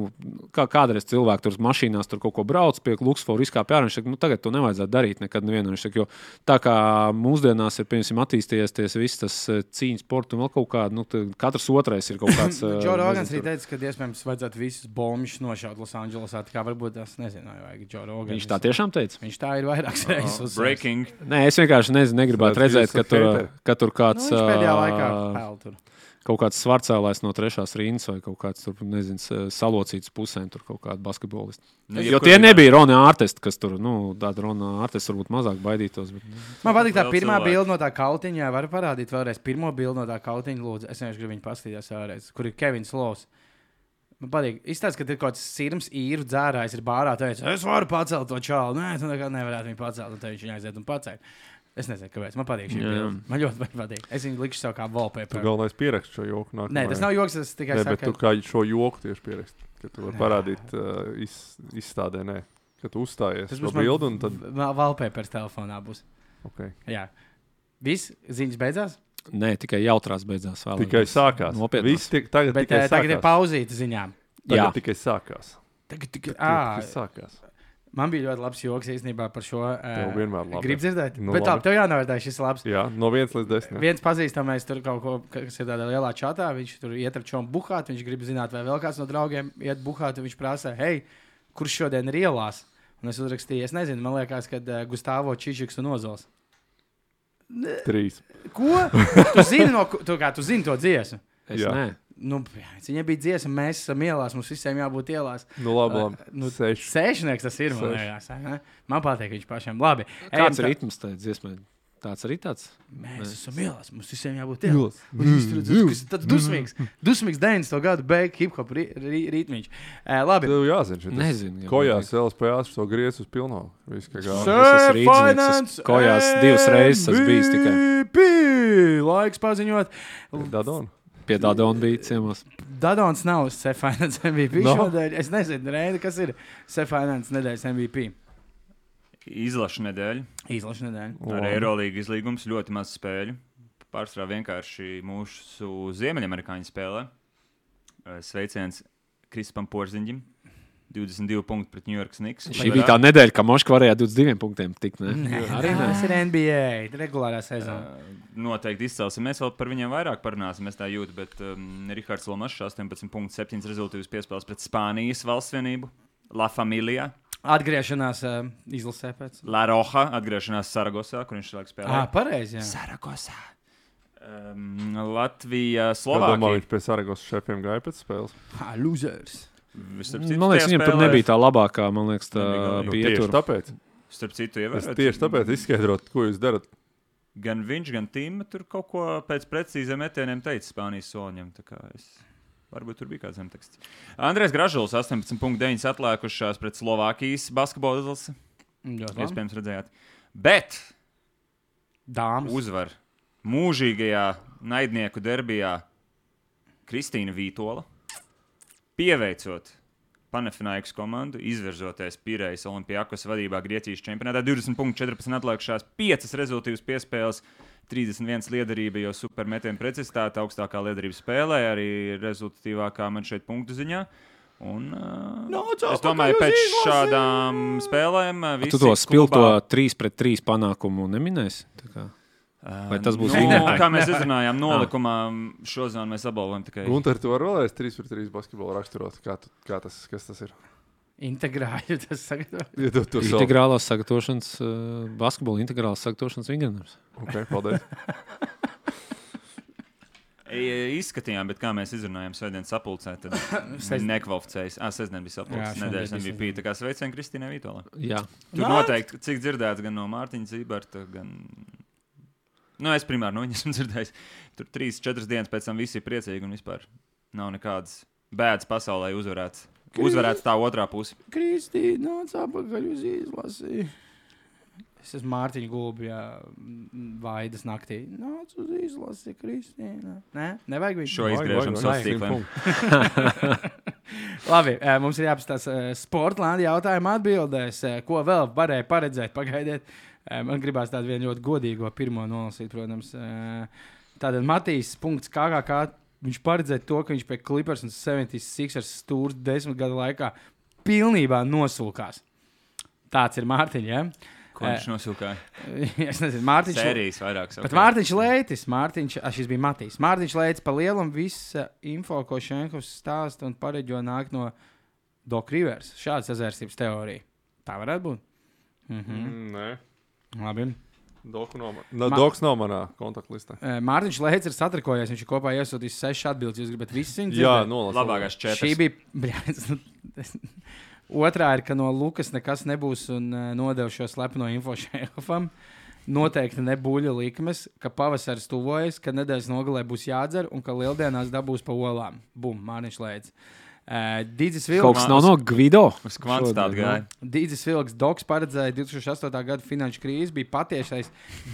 C: kā kādreiz cilvēki tur mašīnās tur kaut ko brauc pie Luksforu, izkāpa ārā. Viņš saka, nu, tagad to nevajadzētu darīt nekad nevienam. Viņš saka, jo tā kā mūsdienās ir, piemēram, attīstījies ties viss tas eh, cīņas sports un vēl kaut kāda, nu, tad katrs otrais ir kaut kāds. eh,
A: Džo Rogans arī
C: nezinu,
A: teica,
C: tur-
A: ka iespējams vajadzētu visus bombus nošaut Losandželosā. Tā kā varbūt tas nezinu, vai vajag Džo Rogans.
C: Viņš tā Uh-huh. tiešām teica.
A: Viņš tā ir vairākas reizes
B: Oh,
A: uzsācis.
B: breaking.
C: Nē, es vienkārši nezinu, negribētu
D: Tāpēc
C: redzēt,
D: jūs
C: ka
D: esat
C: tur,
D: hateri.
C: ka tur
A: Nu,
C: kāds.
A: viņš pēdējā laikā
C: eh,
A: spēlēja tur.
C: kaut kāds svarcēlājs no trešās rindas vai kaut kāds tur, nezinu, s- salocīts pusēm, tur kaut kāda basketbolista.
B: Nu,
C: Jo
B: jebkurā
C: tie
B: gadījumā-
C: nebija Rona ārtesti, kas tur, nu, tāda Rona ārtesti varbūt mazāk baidītos. Bet...
A: Man patīk tā
B: Vēl
A: pirmā
B: cilvēki.
A: bilde no tā kautiņa. Jā, Varu parādīt vēlreiz pirmo bildi no tā kautiņa. Lūdzu. Es vienkārši gribu viņu paskatīties vēlreiz, kur ir Kevins Lovs. Man patīk, izstāst, ka ir kaut kāds sirds, īru dzērājs, ir bārā. Teica, es varu pacelt to čālu. Nē, tā kā nevarētu viņu pacelt. un Tad viņš viņu aiziet un pacelt. Es nezinu, kāpēc. Man patīk šī
B: Jā, jā.
A: bilde. Man ļoti patīk. Es viņu likšu sev kā
D: Tu
A: wallpaper.
D: galvenais pierakst šo joku. Nākamajā.
A: Nē, tas nav joks, tas tikai
D: Nē, bet
A: saka,
D: tu kā šo joku tieši pierakst. Ka tu
A: Nē.
D: vari parādīt uh, iz, izstādē, nē. Kad tu uzstājies
A: tas
D: uz
A: būs man-
D: bildi, un tad.
A: va- wallpaper telefonā būs.
D: Okay.
A: Jā. Viss ziņas beidzās,
C: Nē, tikai jautrās beidzās. Vēl
D: Tikai sākās.
C: Nopietnās.
D: Viss tik, tagad
A: bet
D: tikai
A: eh, tagad ir
D: sākās.
A: pauzīte ziņām.
D: Tagad
C: Jā,
D: tikai sākās.
A: Tagad, tagad,
D: Tagad tikai
A: à,
D: sākās.
A: man bija ļoti labs joks īstenībā par šo.
D: Tev
A: Uh,
D: vienmēr labi.
A: Gribu dzirdēt,
D: Nu,
A: nu, bet
D: labi.
A: labi, tev jānovērtē šis labs.
D: Jā, no 1 līdz 10.
A: Viens pazīstamais tur kaut ko, kas ir tādā lielā čatā, viņš tur iet ar čomu buhāt, viņš grib zināt, vai vēl kāds no draugiem iet buhāt, un viņš prasa, hei, kurš šodien ir ielās? Un es uzrakstīju, es nezinu, man liekas, ka uh, Gustavo Čižiks un Ozols.
D: 3.
A: Ko? Tu zini, no, ku- tu, kā, tu zini to dziesmu.
C: es
D: Jā.
C: nē.
A: Nu, pēc, viņa bija dziesma, mēs esam ielās, mums visiem jābūt ielās.
D: Nu, labi, labi.
A: Nu,
D: Nu, 6.
A: Sēžnieks tas ir, man
D: Seši.
A: liekas. ā? Man patīk viņš pašam. Labi, ejam
C: Kāds
A: tā-
C: ir ritms tajā dziesmā? Tāds arī tāds.
A: Mēs esam ielās, mums visiem jābūt ielās. Un viņš tur ir tas- tas dusmīgs, dusmīgs 90. gadu beigas hip hop rī- rī- rītmiņš. Ē, Labi,
D: Tev jāzina, šis.
C: Nezinu. jā,
D: Kojās LSP to griez uz pilno. Viss, kā gāja.
C: Sir! Es esmu rīznieks, es kojās divas reizes esmu bijis tikai.
A: tikai. Laiks paziņot.
D: Dadon.
C: Pie tāda un bija ciemos.
A: Dadons nav Sefinance MVP
D: No.
A: no. šodien. Es nezinu, Reini, kas ir Sefinance nedēļas MVP.
B: Izlaša nedēļa.
A: Izlaša nedēļa.
B: Ar Eirolandu izlīgums ļoti maz spēļu. Pārsvarā vienkārši mūsu ziemeļamerikāņu spēlē. Eh, Sveiciens Krispam Porziņģim. 22 punkti pret New York Snigs.
C: Šī bija tā nedēļa, ka Moškva varēja 22 punktiem tikt. Ne?
A: Arī tas ir NBA regulārā sezonā.
B: Eh, Noteikti izcelsim. Mēs vēl par viņiem vairāk parunāsim. Es tā jūtu, bet um, Rihards Lomašs 18,7 rezultātus piespēlēs pret Spānijas valsts vienību. La Familia,
A: Atgriešanās ā, izlasē pēc.
B: La Roja, atgriešanās Saragosā, kur viņš šādi spēlē.
A: Ah, pareizi. jā.
B: Saragosā. Um, Latvija,
D: Es domāju,
B: Slovākija.
D: viņš pie Saragosas šefiem gāja pēc spēles.
A: Ah, Losers.
B: Starp citu,
C: Man liekas,
B: tajā
C: viņam tur
B: spēlē-
C: nebija tā labākā, man liekas,
B: Nebija
C: tā
D: Nu, tieši
C: pietura.
D: tāpēc.
B: Starp citu,
D: Es
B: ievērot,
D: tieši tāpēc izskaidrotu, ko jūs darat.
B: Gan viņš, gan Tīma tur kaut ko pēc precīziem metieniem teica Spānijas soļiem. tā kā es- Varbūt tur bija kāds zemteksts. Andrēs Gražulis 18,9 atlikušās pret Slovākijas basketbolu izlasi.
A: Ļoti labi.
B: Iespējams, redzējāt. Bet
A: Dāmas.
B: uzvar mūžīgajā naidnieku derbijā Kristīna Vītola, pieveicot Panafinaikas komandu, izvirzoties Pīrājas Olimpijakos vadībā Grieķijas čempionātā. 20,14 atlikušās 5 rezultātus piespēles. 31 liederība, jo supermetienu precizitāte augstākā liederība spēlē, arī rezultatīvākā man šeit punktu ziņā. Un, uh,
A: Nāc
B: es
A: Nu, atpakaļ
B: domāju,
A: uz
B: pēc
A: izlasi!
B: šādām spēlēm uh,
C: Tu
B: visi
C: to spilto
B: klubā-
C: 3 pret 3 panākumu neminēsi. Tā kā. Vai tas būs
B: nu,
C: viņa?
B: kā mēs izrunājām, nolikumā šo zonu mēs apbalvojam tikai.
D: Un ar to rolēs 3 pret 3 basketbolu raksturot, kā, tu, kā tas, kas tas ir.
A: Integrāļu tas nu, sagatavo.
D: Ja tu, tu savu-
C: Integrālās sagatavošanas, uh, basketbola integrālās sagatavošanas vingrinājums.
D: Okay, paldies.
B: I- Izskatījām, bet kā mēs izrunājām, svētdienas sapulcē, tad
A: Sest-
B: nekvalificējas. Ah, sestdien bija
A: Jā,
B: sapulcē,
A: šodien
B: nedēļas
A: bija
B: MVP. Tā kā sveicien Kristīnai Vitolam.
C: Jā,
B: Tur
A: Nāc!
B: noteikti, cik dzirdēts gan no Mārtiņa Zīberta, gan. Nu, es primāri no viņas esmu dzirdējis. Tur trīs, četras dienas pēc tam visi ir priecīgi un vispār nav nekādas bēdas pasaulē uzvarēts. Uzvarēts tā otrā puse.
A: Kristīna nāca apakaļ uz izlasi. Es esmu Mārtiņš Gulbjā, vaidas naktī. Nāc uz izlasi, Kristīna. Nē, nevajag viņu.
B: Šo
D: Vai,
B: izgriežam
D: vai, vai,
B: sociālos tīklos.
D: punkti.
A: Labi, eh, mums ir jāapstāsta eh, Sportlandes jautājuma atbildēs, eh, ko vēl varēja paredzēt. Pagaidiet, Eh, man gribās tādu vienu ļoti godīgo pirmo nolasīt, protams. Eh, Tātad Matīs, punkts KKK, viņš paredzēja to, ka viņš pie Clippers un 76 stūra desmit gadu laikā pilnībā nosulkās. Tāds ir Mārtiņš. Ja?
B: Ko viņš nosilkāja?
A: es nezinu, Mārtiņš.
B: Sērijas vairākas.
A: Bet
B: ok.
A: Mārtiņš Lētis, Mārtiņš, a, šis bija Matīs. Mārtiņš Lētis pa lielam visa info, ko Šenkovs stāsta un pareģo nāk no Dokrivers. Šāda sazvērstības teorija. Tā varētu būt. Mhm. Mm.
D: Mm, Nē.
A: Labi.
D: Doku nav man- Na,
A: Ma-
D: Doks nav manā kontaktlistē.
A: E, Mārtiņš Lētis ir satrakojies, viņš ir kopā iesūtījis sešas atbildes. Jūs gribat visus viņus?
D: Jā, nu,
A: dzirdēt?
D: nolasīt.
B: Labākās četras.
A: Šī bija. Bļāds, nu, es- Otrā ir, ka no Lukas nekas nebūs un e, nodevu šo slepeno info šefam. Noteikti nebūļa likmes, ka pavasaris tuvojas, ka nedēļas nogalē būs jādzer un ka lieldienās dabūs pa olām. Bum, māniņš lēdz. Uh, Dīdzis
C: Kaut
A: Vilks,
C: kas nav no Gvido.
B: Uz kvantas tāda
A: nu?
B: gāja.
A: Dīdzis Vilks Dogs paredzēja 2008. gada finanšu krīzi, bija patiešais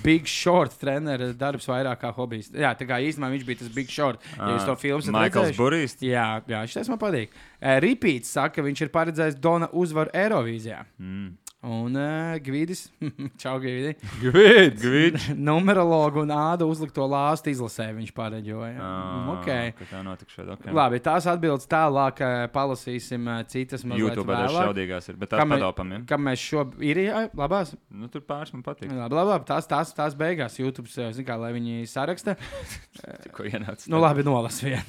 A: Big Short treneris darbs vairāk kā hobijs. Jā, tā kā īstenībā viņš bija tas Big Short. Ja jūs to
B: Ah.
A: filmu
B: Maikls Burīs.
A: Jā, jā, šis man patīk. Uh, Ripīts saka, ka viņš ir paredzējis Dona uzvaru Eirovīzijā.
B: Mm.
A: Un uh, Gvidis, čau, Gvidi,
D: Gvids!
B: Gvids.
A: numerologu un āda uzlikto lāstu izlasē viņš pareģoja.
B: Ah,
A: Okay.
B: ka Tā notikšana. Okay.
A: Labi, tās atbildes tālāk eh, palasīsim eh, citas mazliet
B: YouTube arī
A: vēlāk.
B: šaudīgās ir, bet tā
A: Kam-
B: padopam. Ja?
A: Kam mēs šobrīd ir? Jā, labās.
B: Nu, tur pāris man patīk.
A: Labi, labi, labi. Tās, tās, tās beigās YouTube, zināmā mērā, lai viņi saraksta.
B: Tikko ienāca.
A: Nu, labi, nolas vienu.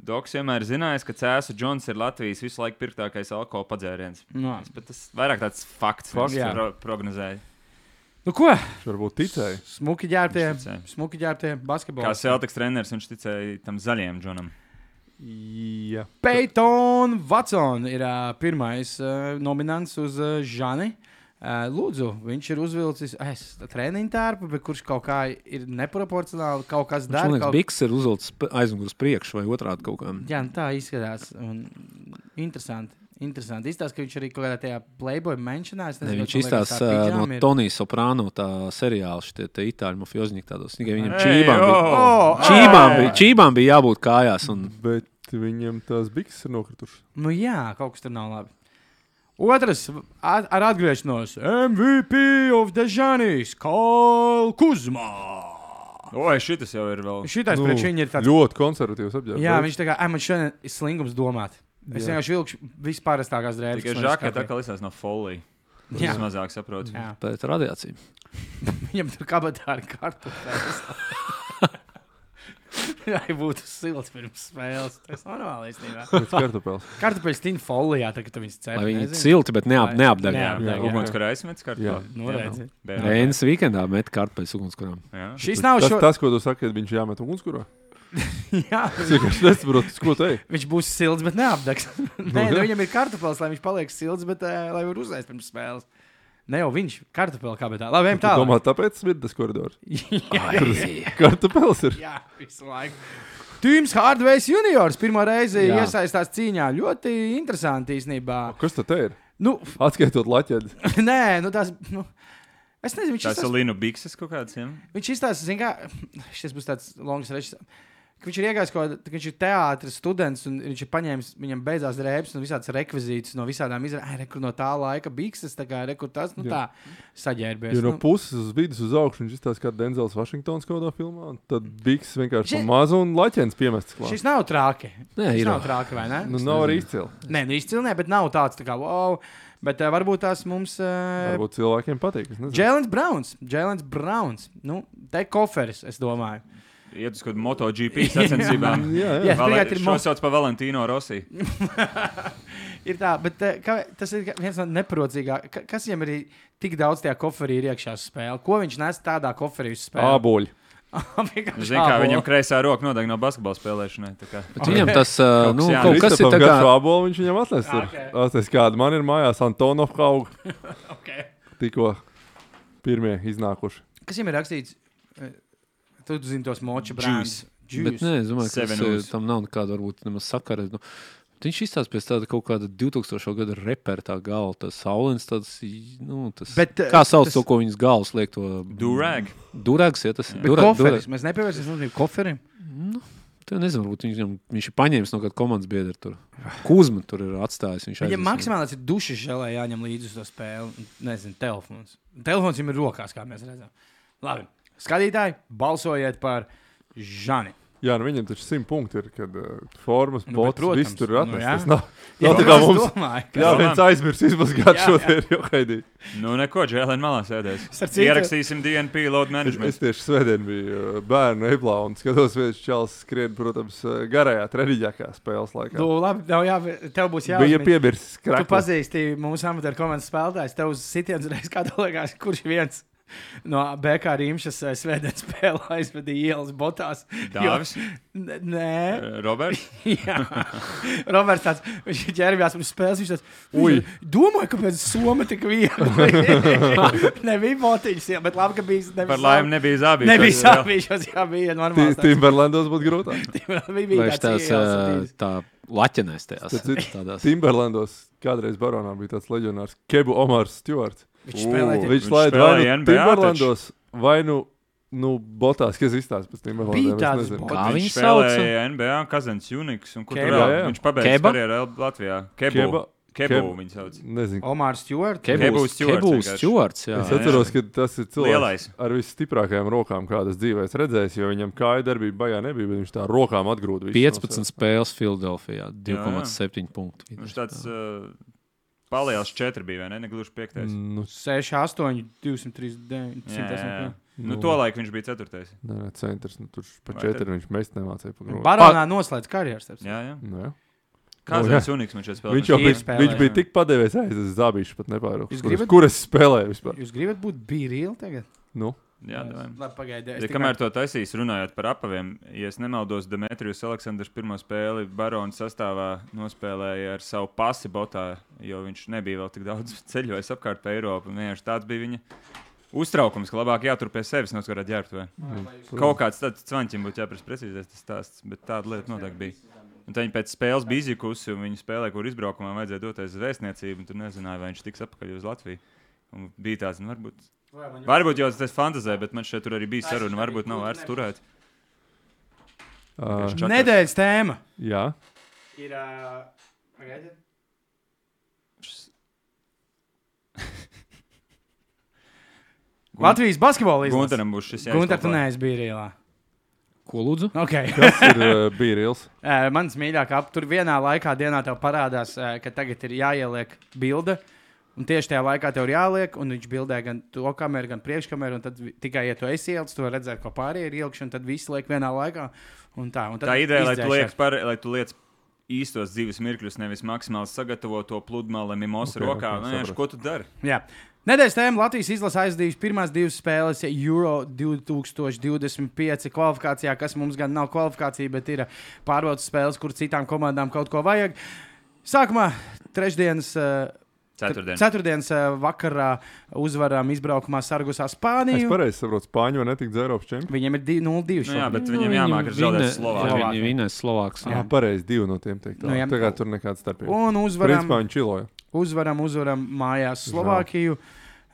B: Doks vienmēr zinājis, ka cēsu džons ir Latvijas visu laiku pirktākais alkohola padzēriens.
A: No.
B: Bet tas vairāk tāds fakts,
A: Fakts,
B: kas
A: jā.
B: pro prognozēja.
A: Nu, ko?
D: Varbūt ticēji.
A: Smuki ģērbtie,
B: Viņš ticēja.
A: smuki ģērbtie
B: Kā
A: basketbolā.
B: Celtics treneris, viņš ticēja tam zaļajam džonam.
D: Jā.
A: Peyton Watson ir uh, pirmais uh, nominants uz uh, Žani. Uh, lūdzu, viņš ir uzvilcis es, treniņu tērpu, bet kurš kaut kā ir neproporcionāli kaut kas
C: Viņš, Man
A: darīts.
C: liekas,
A: Kaut...
C: Biks ir uzvilcis aizmugurē uz priekšu vai otrādi kaut kā.
A: Jā, nu tā izskatās. Un... Interesanti. Interesanti. Izstāsta, ka viņš arī kaut kādā tajā Playboy mentionā. es
C: Ne,
A: nezinu,
C: viņš
A: vai tā
C: izstāsta eh,
A: pidžama
C: no
A: ir.
C: Tonija Soprāno tā seriāla, šie te itāļu mafioznieki tādos. Tikai viņam
B: Ei,
C: čībām bija,
B: o!
A: Oh!
C: čībām, bija, čībām bija jābūt kājās. Un,
D: Bet viņam tās bikses ir nokritušas.
A: Nu jā, kaut kas tur nav labi. Otrs at, ar atgriešanos MVP of Dežanijas Kalkuzmā.
B: Oi, šis jau ir vēl.
A: Šitais nu, priekš viņa ir tāds.
D: ļoti konservatīvs apģērbs.
A: Jā, viņš tā kā, ai, man šodien ir slingums domāt. Es
D: Jā.
A: vienkārši vilkšu vispārastākās drēbes. ko
B: Tikai
A: es
B: žakē tā
A: skatīju.
B: kā lisās no folijas.
A: Jā.
B: Tas mazāk saprotu.
A: Jā.
C: bet radiācija.
A: Viņam tur kabatā ir kartupeļs. Jā, būtu silts pirms spēles. Tas normāli īstenībā.
D: pēc kartupēles.
A: Kartupeļs tīna folijā, tā, kad tu viņus cēlies.
C: Lai viņi cilti, bet neap,
A: Lai-
C: neapdaļā.
A: neapdaļā. jā.
B: Ugunskura aizmets kārtā.
D: Jā.
A: Noreidzi.
C: Reinas weekendā met kartu pēc ugunskurām.
B: Jā.
A: Šis nav
D: Tas,
A: šo...
D: tas, ko tu saki, kad viņš jāmet ugunskurā.
A: Jā,
D: Es vienkārši nesaprotu, ko te ir.
A: viņš būs silts, bet neapdags. Nē, nu, viņam ir kartupeļs, lai viņš paliek silts, bet uh, lai var uzēst pirms spēles. Ne jau viņš kartupeļs kabatā. Labi, ejam tālāk.
D: Domā, tāpēc smirdas koridors.
A: Jā,
D: Kartupēles ir.
A: Jā, visu laiku. Tīms Hardvejs juniors pirmo reizi Jā.
C: Jā.
A: iesaistās cīņā. Ļoti interesanti īstenībā.
D: Kas tad te ir?
A: Nu,
D: Atskaitot laķēdi.
A: nē, nu tas. Nu, es nezinu, viņš
B: Tas
A: izstāsta.
B: ir Linu Bikses kaut kāds. Ja?
A: Viņš izstāsta, zin kā, šis būs tāds longs režs. ka Viņš ir iegājis kaut kādā, viņš ir teātris, students, un viņš ir paņēmis, viņam beidzās drēbes un visādas rekvizītas no visādām izrādēm. No tā laika bikses, tā kā rekur tas, nu tā,
D: Jā.
A: saģērbies.
D: Jo no
A: nu.
D: puses uz vidus uz augšu viņš izstāsta, kā Denzels Vašingtons kaut kādā filmā. un Tad biks vienkārši
A: Šis-
D: maza un laķēns piemests klāt.
A: Nu, Šis nav trāki.
C: Nē,
A: Šis
C: ir.
A: nav trāki, vai ne?
D: Nu, nav arī izcili.
A: Nē, nu izcilnē, bet nav tāds tā kā wow. Bet uh, varbūt tās mums. Uh,
D: Varbūt cilvēkiem patīk.
A: Jēlens Browns. Jēlens Browns. Nu, te koferis, es domāju.
B: Iet uz kaut kādu MotoGP sacensībām.
D: Jā, jā.
A: Jā,
B: Valen...
A: tagad ir
B: Šo
A: mo-
B: sauc par Valentīno Rossi. Nu,
A: Ir tā, bet uh, kā, tas ir viens no neprocīgākajiem. Kas viņam ir tik daudz tajā koferī ir iekšā spēlē? Ko viņš nes tādā koferī uz spēli?
D: Āboļi.
A: Vienkārši
B: Zinu, kā
A: ābolu.
B: viņam kreisā roka nodeg no basketbola spēlēšanai. tā kā.
C: Bet Viņam tas uh, nu,
B: jā.
C: kaut kas ir tāds, kā
D: Āboļi viņš viņam atnesa.
A: Ok.
D: ir. Atnesa kādu man ir mājās Antonov Haug.
A: okay.
D: Tikko pirmie iznākuši.
A: Kas viņam ir rakstīts? Uh, Tu zini tos moču brāļus.
B: Juice. nu,
C: Bet, nē, es domāju, ka
B: Seven
C: tas, eh,
B: News.
C: tam nav nekāda varbūt nemaz sakara. Nu, viņš izstāsta pēc tāda kaut kāda 2000. gada repera tā gala, tas saulins tāds, nu, tas.
A: Bet, eh,
C: kā sauc
A: tas-
C: tas... to, ko viņas gals liek to?
B: Durag.
C: Durāgs, ja tas ir.
A: Bet koferis. Mēs nepievērsīsim uzmanību koferim.
C: Tu nezini, varbūt viņš, viņam- viņš ir paņēmis no kāda komandas biedra tur. Kuzma tur ir atstājis. Viņš
A: Viņam
C: aiznes.
A: maksimāli ir dušas žēlē jāņem līdzi uz to spēli. un, Nezinu, telefons. Telefons viņam ir rokās, kā mēs redzam. Labi, skatītāji, balsojiet par Žani.
D: Jā, nu viņam taču simt punkti ir, kad uh, formas,
A: Nu, bet,
D: botas,
A: protams.
D: viss tur ir
A: Nu, jā.
D: atnesis. Nu, jā, tā kā
A: es
D: mums.
A: domāju, ka
D: Jā, viens aizmirst izmazgāt
A: Jā,
D: šo
A: jā.
D: te jau haidī.
B: Nu, neko, Džēlēn, malā sēdēs.
A: Starp citu-
B: Ierakstīsim DNP load
D: Es, es
B: management.
D: tieši svētdien biju uh, bērnu eblā un skatos, viens čels skrien, protams, uh, garajā treniņākā spēles laikā.
A: tu, Nu, labi, tev, jā, tev būs
D: Bija
A: jāuzmin.
D: piebirsis
A: Tu
D: krāklis.
A: pazīsti mūsu amatieru komandas spēlētājus. Tev uz sitienas reizes kā tev liekas, kurš viens. No BK Rīgas eh, svētdienas spēlē aizvedīja ielas botās.
B: Dāvis,
A: N- Nē,
B: eh, Roberts.
A: Jā, Roberts tāds, viņš ģērbjās pirms spēles. Viņš tāds,
D: Ui.
A: "Ui, domāju, kāpēc Somija tik viegli. Nebija botiņas, jā, bet labi, ka bija. Nebija
B: Par laimi nebija eh, zābīgi.
A: Nebija
B: Tas vēl-
A: sāpīšos, jā, bija normāli.
D: Timberlandos būtu grūtāk.
A: Viņš
C: Vai viņš tāds, eh, tā laķenēs tajās
D: Tādās Timberlandos kādreiz baronā bija tāds leģionārs Kebu Omars Stewarts.
A: Viņš spēlē
B: Ū,
A: tie-
D: Viņš
B: Viņš
D: laid vai
B: spēlēja
D: nu
B: NBA
D: Timberlandos, vai nu, nu botās, kas izstāsta pēc
A: Bija
D: Timberlandiem. es
A: tāds
D: nezinu.
A: Bot-
C: Kā
B: viņš
C: viņu sauc?
B: spēlēja NBA, Kazants Uniks, un kur tur
A: Keba.
B: vēl?
D: Jā, jā.
B: viņš pabeidza
C: Keba?
B: karjeru L- Latvijā. Kebu.
D: Keba-
B: Kebu
D: Keb-
B: viņa sauc.
D: Nezinu.
A: Omars Stjorts.
B: Kebu
C: Kebūs
B: Stewarts
C: Kebūs
B: vienkārši.
C: Stewarts, jā.
D: Es
B: jā.
D: atceros, ka tas ir cilvēks
B: Lielais.
D: ar visstiprākajām rokām, kādas dzīvē es redzēju, jo viņam kāja darbība baigā nebija, bet viņš tā rokām atgrūda visu. no
C: 15 spēles Filadelfijā, 2,7 punktu.
B: Viņš tāds uh, paliels četri bija, vai ne? Negluži
D: sevis.
B: piektais.
D: Nu,
A: 6, 8, 203, 9,
B: Jā, jā, jā.
A: 110.
B: Nu,
D: Nu.
B: tolaik viņš bija ceturtais.
D: nē, nē, centrs, nu, tur pa
B: Vai
D: četri viņš mest nemācīja pa grūti.
A: Baronā noslēdz karjeras. starp citu.
B: Jā, jā.
D: Nu, jā.
B: Kazants Uniks viņš šeit spēlēja.
D: Viņš jau
A: ir
D: bija,
A: spēlē,
D: viņš bija
B: jā.
D: tik padevies, aiz es zābīšu pat nepārāk.
A: Jūs
D: Kur,
A: gribat?
D: kur es spēlēju vispār?
A: Jūs gribat būt bīrīli tagad?
D: Nu,
B: Jā, davai.
A: Labi, pagaidiet.
B: Ja kamēr to taisīs, runājot par apaviem, ja es nemaldos, Demetrijs Aleksandrs pirmo spēli Barona sastāvā nospēlēja ar savu pasi botā, jo viņš nebija vēl tik daudz ceļojis apkārt pa Eiropu. Un vienkārši tāds bija viņa uztraukums, ka labāk jātur pie sevis, noskarot ģērbtuvē.
D: nu,
B: Kaut kāds tāds cvaņķim būtu jāprasa precīzēs tas stāsts, bet tāda lieta noteikti bija. Un tad viņi pēc spēles bija izjukusi, un viņi spēlēja, kur izbraukumā vajadzēja doties uz vēstniecību, un tur nezināja, vai viņš tiks atpakaļ uz Latviju. Un bija tāds, nu, varbūt Varbūt jau tas fantāzē, bet man šeit tur arī bija saruna. Varbūt nav vērts turēt.
D: uh,
A: Nedēļas tēma
D: jā.
A: ir. ā, pagaidiet. Latvijas basketbola līnija.
B: Gunteram būs šis
A: Gunter, tu neesi bīrīlā.
C: Ko lūdzu?
A: Okay.
D: Tas ir uh, Bīrils.
A: Ē, Mans mīļākais, ap tur vienā laikā dienā tev parādās, ē, ka tagad ir jāieliek bilde. Un tieši tajā laikā tev ir jāliek, un viņš bildē gan to kameru, gan priekškameru. un Tad vi- tikai, ja tu esi ielas, to redzēji, ko pārējie ir ieliekšana, tad viss liek vienā laikā. Un tā, un tad
B: Tā ideja, lai tu
A: izdzēšās.
B: liec, par, lai tu liec īstos dzīves mirkļus, nevis maksimāli sagatavo to pludmali, mimos okay,
D: Ok,
B: rokā.
D: ok,
B: Okay, Nē,
D: sapratu.
B: ko tu dari?
A: Jā. Nedēļas tēma Latvijas izlase aizdījusi pirmās divas spēles Euro 2025 kvalifikācijā, kas mums gan nav kvalifikācija, bet ir eh, pārbaudas spēles, kur citām komandām kaut ko vajag. Sākumā trešdienas. eh,
B: Ceturtdien.
A: Ceturtdienas eh, vakarā uzvarām izbraukumā Sargusā
D: Es
A: Spāniju.
D: pareizi saprotu, Spāņu var netikt uz Eiropas čempionāta.
A: Viņiem ir divi- 0-2.
B: Nu, jā,
A: šobrīd.
B: bet viņam jāmāk ir zaudēt Slovākiju.
A: Slovākiju.
C: Viņa vienais Slovāks.
D: Jā, pareizi, divi no tiem teikt.
A: Nu,
D: Nu,
A: jā.
D: tā kā tur nekāda starpība.
A: Un
D: Principā
A: uzvarām,
D: viņš čiloja.
A: uzvaram, uzvaram mājās Slovākiju.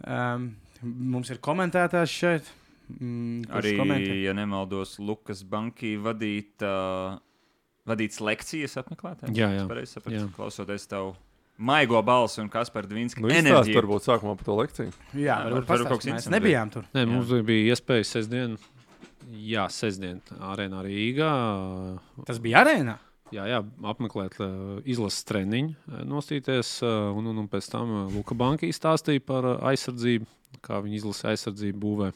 A: Um, mums ir komentētājs šeit. Mm, kurš
B: Arī,
A: komentē?
B: ja nemaldos, Lukas Banki vadīt, uh, vadīts lekcijas apmeklētājiem.
C: Jā, jā.
B: Es pareizi sapratu,
C: Jā.
B: Klausoties tavu maigo balsi un Kasparu Dvīnsku
D: Nu, izstāst
B: enerģiju.
D: varbūt sākumā par to lekciju.
A: Jā,
B: Jā,
A: varbūt pastāst,
B: varbūt kaut kas
A: mēs
B: interesants
A: nebijām tur.
C: Nē,
B: Jā.
C: mums bija iespēja sestdien, jā, sestdien, arēnā Rīgā.
A: Tas bija arēnā.
C: Jā, jā, apmeklēt ā, izlases treniņu, ā, nostīties, ā, un, un, un pēc tam ā, Luka Banka izstāstīja par ā, aizsardzību, kā viņa izlasa aizsardzību būvē.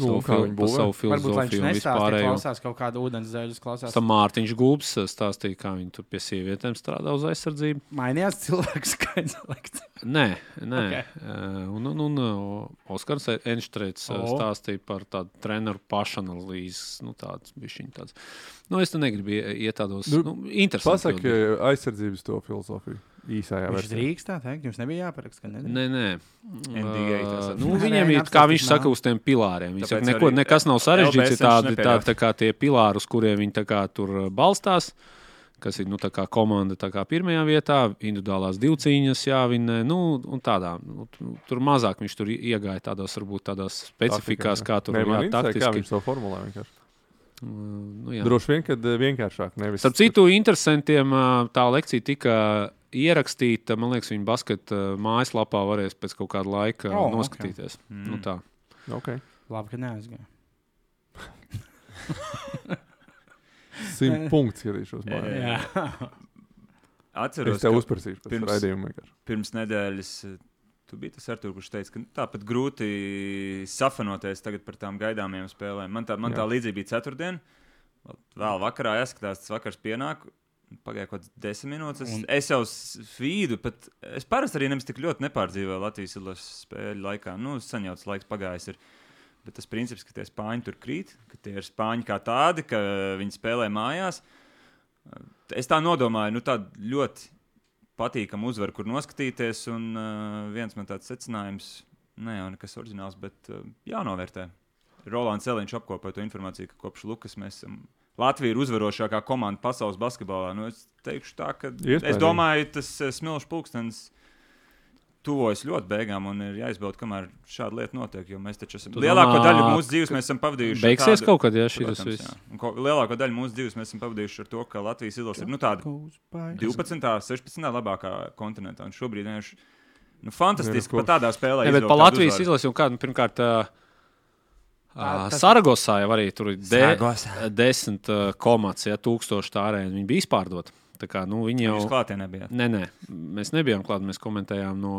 D: Nu,
C: Savu
D: kā
C: fil-
D: viņi
C: par
D: būvē?
A: Varbūt
C: Savu
A: lai viņš
C: filozofiju un
A: nestāstīja, ka
C: vispārējo.
A: klausās kaut kādu ūdens dēļus, klausās.
C: Pēc tam Mārtiņš Gulbs ā, stāstīja, kā viņi tur pie sievietēm strādā uz aizsardzību.
A: Mainījās cilvēks skaits. lekcija.
C: Nē, nē.
A: Ok.
C: Okay. Uh, un, un, un uh, Oskars Enštrēts uh,
A: O.
C: stāstīja par tādu treneru pašanalīzi. Nu, tāds bija viņa tāds. Nu, es te negribu ie- iet tādos
D: Nu,
C: nu, interesantos.
D: Pasaki eh, aizsardzības to filozofiju īsajā
A: Viņš
D: versijā.
A: drīkst tā teikt, jums nebija jāparaksta. ka nedrīkst?
C: Nē, nē.
B: NDA tā
C: Uh,
B: sauc.
C: nu,
A: Nē,
C: viņiem
A: nē,
C: ir, kā viņš
A: absolūti
C: saka,
A: nav.
C: uz tiem pilāriem. Viņš
B: Tāpēc
C: saka, neko,
B: arī,
C: nekas nav
B: eh, LBS
C: sarežģīts. Ir tādi, tā,
B: nepieļaus.
C: tā kā tie pilāri, uz kuriem viņi tā kā tur eh, balstās. Kas ir nu, tā kā komanda tā kā pirmajā vietā, individuālās divcīņas, jā, viņa nu, un tādā. Nu, tu- tur mazāk viņš tur iegāja tādās, varbūt tādās specifikās, kā tur
D: Nē, man
C: bija
D: interesē, kā
C: taktiski.
D: viņš to formulē. vienkārši.
C: Nu, jā.
D: Droši vien, kad eh, vienkāršāk. Nevis,
C: Starp citu, interesantiem ā, tā lekcija tika ierakstīta. Man liekas, viņa basketā mājaslapā varēs pēc kaut kāda laika
A: O,
C: oh, noskatīties. Okay.
B: Mm.
C: Nu, tā.
D: Okay.
A: Labi, ka neaizgāja.
D: Simt punktu skatīšos.
B: Jā,
D: mājās.
A: Jā,
D: Es
B: Atceros,
D: tev
B: ka
D: uzprasīšu pēc
B: pirms-
D: raidījuma. vienkārši.
B: pirms nedēļas. eh, Tu biji tas Artur, kurš teica, ka nu, tāpat grūti safanoties tagad par tām gaidāmajām spēlēm. Man tā, man tā
D: Jā.
B: līdzība bija ceturtdien. Vēl- Vēl vakarā jāskatās, tas vakars pienāk. Pagāja kaut kāds desmit minūtes. Es,
A: Un-
B: un... es jau svīdu, bet es parasti arī nemaz tik ļoti nepārdzīvoju Latvijas izlases spēļu laikā. Nu, saņemts laiks pagājis. Ir. Bet tas princips, ka tie spāņi tur krīt, ka tie ir spāņi kā tādi, ka viņi spēlē mājās. Es tā nodomāju, nu tādu ļoti patīkamu uzvaru, kur noskatīties. Un uh, viens man tāds secinājums, ne jau nekas eh, oriģināls, bet uh, jānovērtē. Rolands Eliņš apkopoja to informāciju, ka kopš Lukas mēs esam Latvija ir uzvarošākā komanda pasaules basketbolā. Nu, es teikšu, tā, ka Iespējams. es domāju, tas eh, smilšu pulkstenis tuvojas ļoti beigām un ir jāizbaud, kamēr šāda lieta notiek. Jo mēs taču esam
C: Tu
B: lielāko
C: domā,
B: daļu mūsu dzīves mēs esam pavadījuši. ar
C: Beigsies
B: tādu-
C: kaut kad, ja šis
B: Protams,
C: viss.
B: jā. Un ko- Lielāko daļu mūsu dzīves mēs esam pavadījuši ar to, ka Latvijas izlase ir nu, tāda 12. 16. labākā kontinentā. Un šobrīd vienkārši nu, fantastiski
D: Vienas
B: pat tādā spēlē.
C: Ne, bet
B: izvilkt
C: pa
B: tādu
C: Latvijas
B: uzvaru.
C: izlasi, un kāda pirmkārt, uh, uh,
A: tas-
C: Saragosā jau arī tur ir de-
B: Saragosā.
C: desmit uh, komats, ja tūkstoši tā arēna. Viņi bija izpārdoti. Tā kā, nu, viņi jau... Nu,
B: Jūs klātienē bijāt.
C: Nē, nē, mēs nebijām klāt, mēs komentējām no,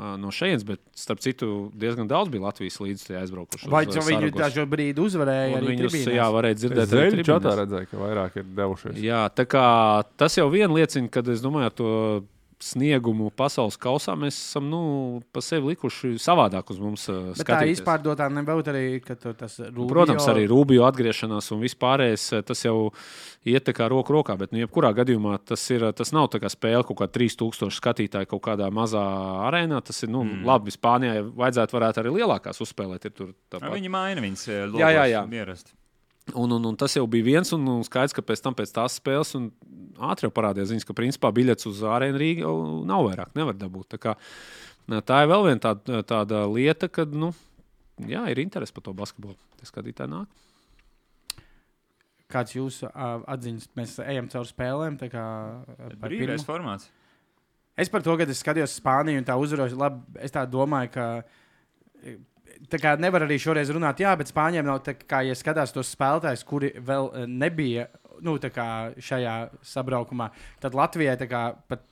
C: ā, no šejienes, bet starp citu diezgan daudz bija Latvijas līdzi aizbraukuši.
A: Vai tu viņu dažu brīdi uzvarēji? arī
C: Viņus,
A: tribīnēs?
C: jā, varēja dzirdēt arī
D: Zvaigznes čatā
C: tribīnēs.
D: redzēja, ka vairāk ir devušies.
C: Jā, tā kā tas jau vien liecina, ka es domāju, ar to sniegumu pasaules kausā mēs esam nu, pa sevi likuši savādāk uz mums. ā,
A: Bet tā
C: skatīties.
A: izpārdotā nebūtu arī, ka tu tas Rubio...
C: Protams, arī Rūbija atgriešanās un vispārējais ā, tas jau iet tā kā roku rokā. Bet, nu, jebkurā gadījumā tas, ir, ā, tas nav tā kā spēle kaut kā 3000 skatītāju kaut kādā mazā arēnā. Tas ir nu, mm. labi. Spānijā ja vajadzētu varētu arī lielākās uzspēlēt. Ir tur tāpat.
B: Nu, Viņi maina viņas. eh,
C: Jā, jā,
B: logos
C: jā.
B: Ierasti.
C: Un, un, un tas jau bija viens, un, un skaidrs, ka pēc tam pēc tās spēles un ātri jau parādījās ziņas, ka principā biļets uz ārēnu Rīgā jau nav vairāk, nevar dabūt. Tā, kā, nā, tā ir vēl viena tāda, tāda lieta, ka nu, jā, ir interese par to basketbolu. Tas skatītāji nāk.
A: Kāds jūsu ā, atziņas, mēs ejam cauri spēlēm. tā Kā, ā, par pirmo.
B: Brīvais formāts.
A: es par to, kad es skatījos Spāniju un tā uzvaros, labi, es tā domāju, ka. e, Tā kā nevar arī šoreiz runāt, jā, bet Spāņiem nav tā kā, ja skatās tos spēlētājus, kuri vēl e, nebija nu, tā kā šajā sabraukumā, tad Latvijai tā kā pat.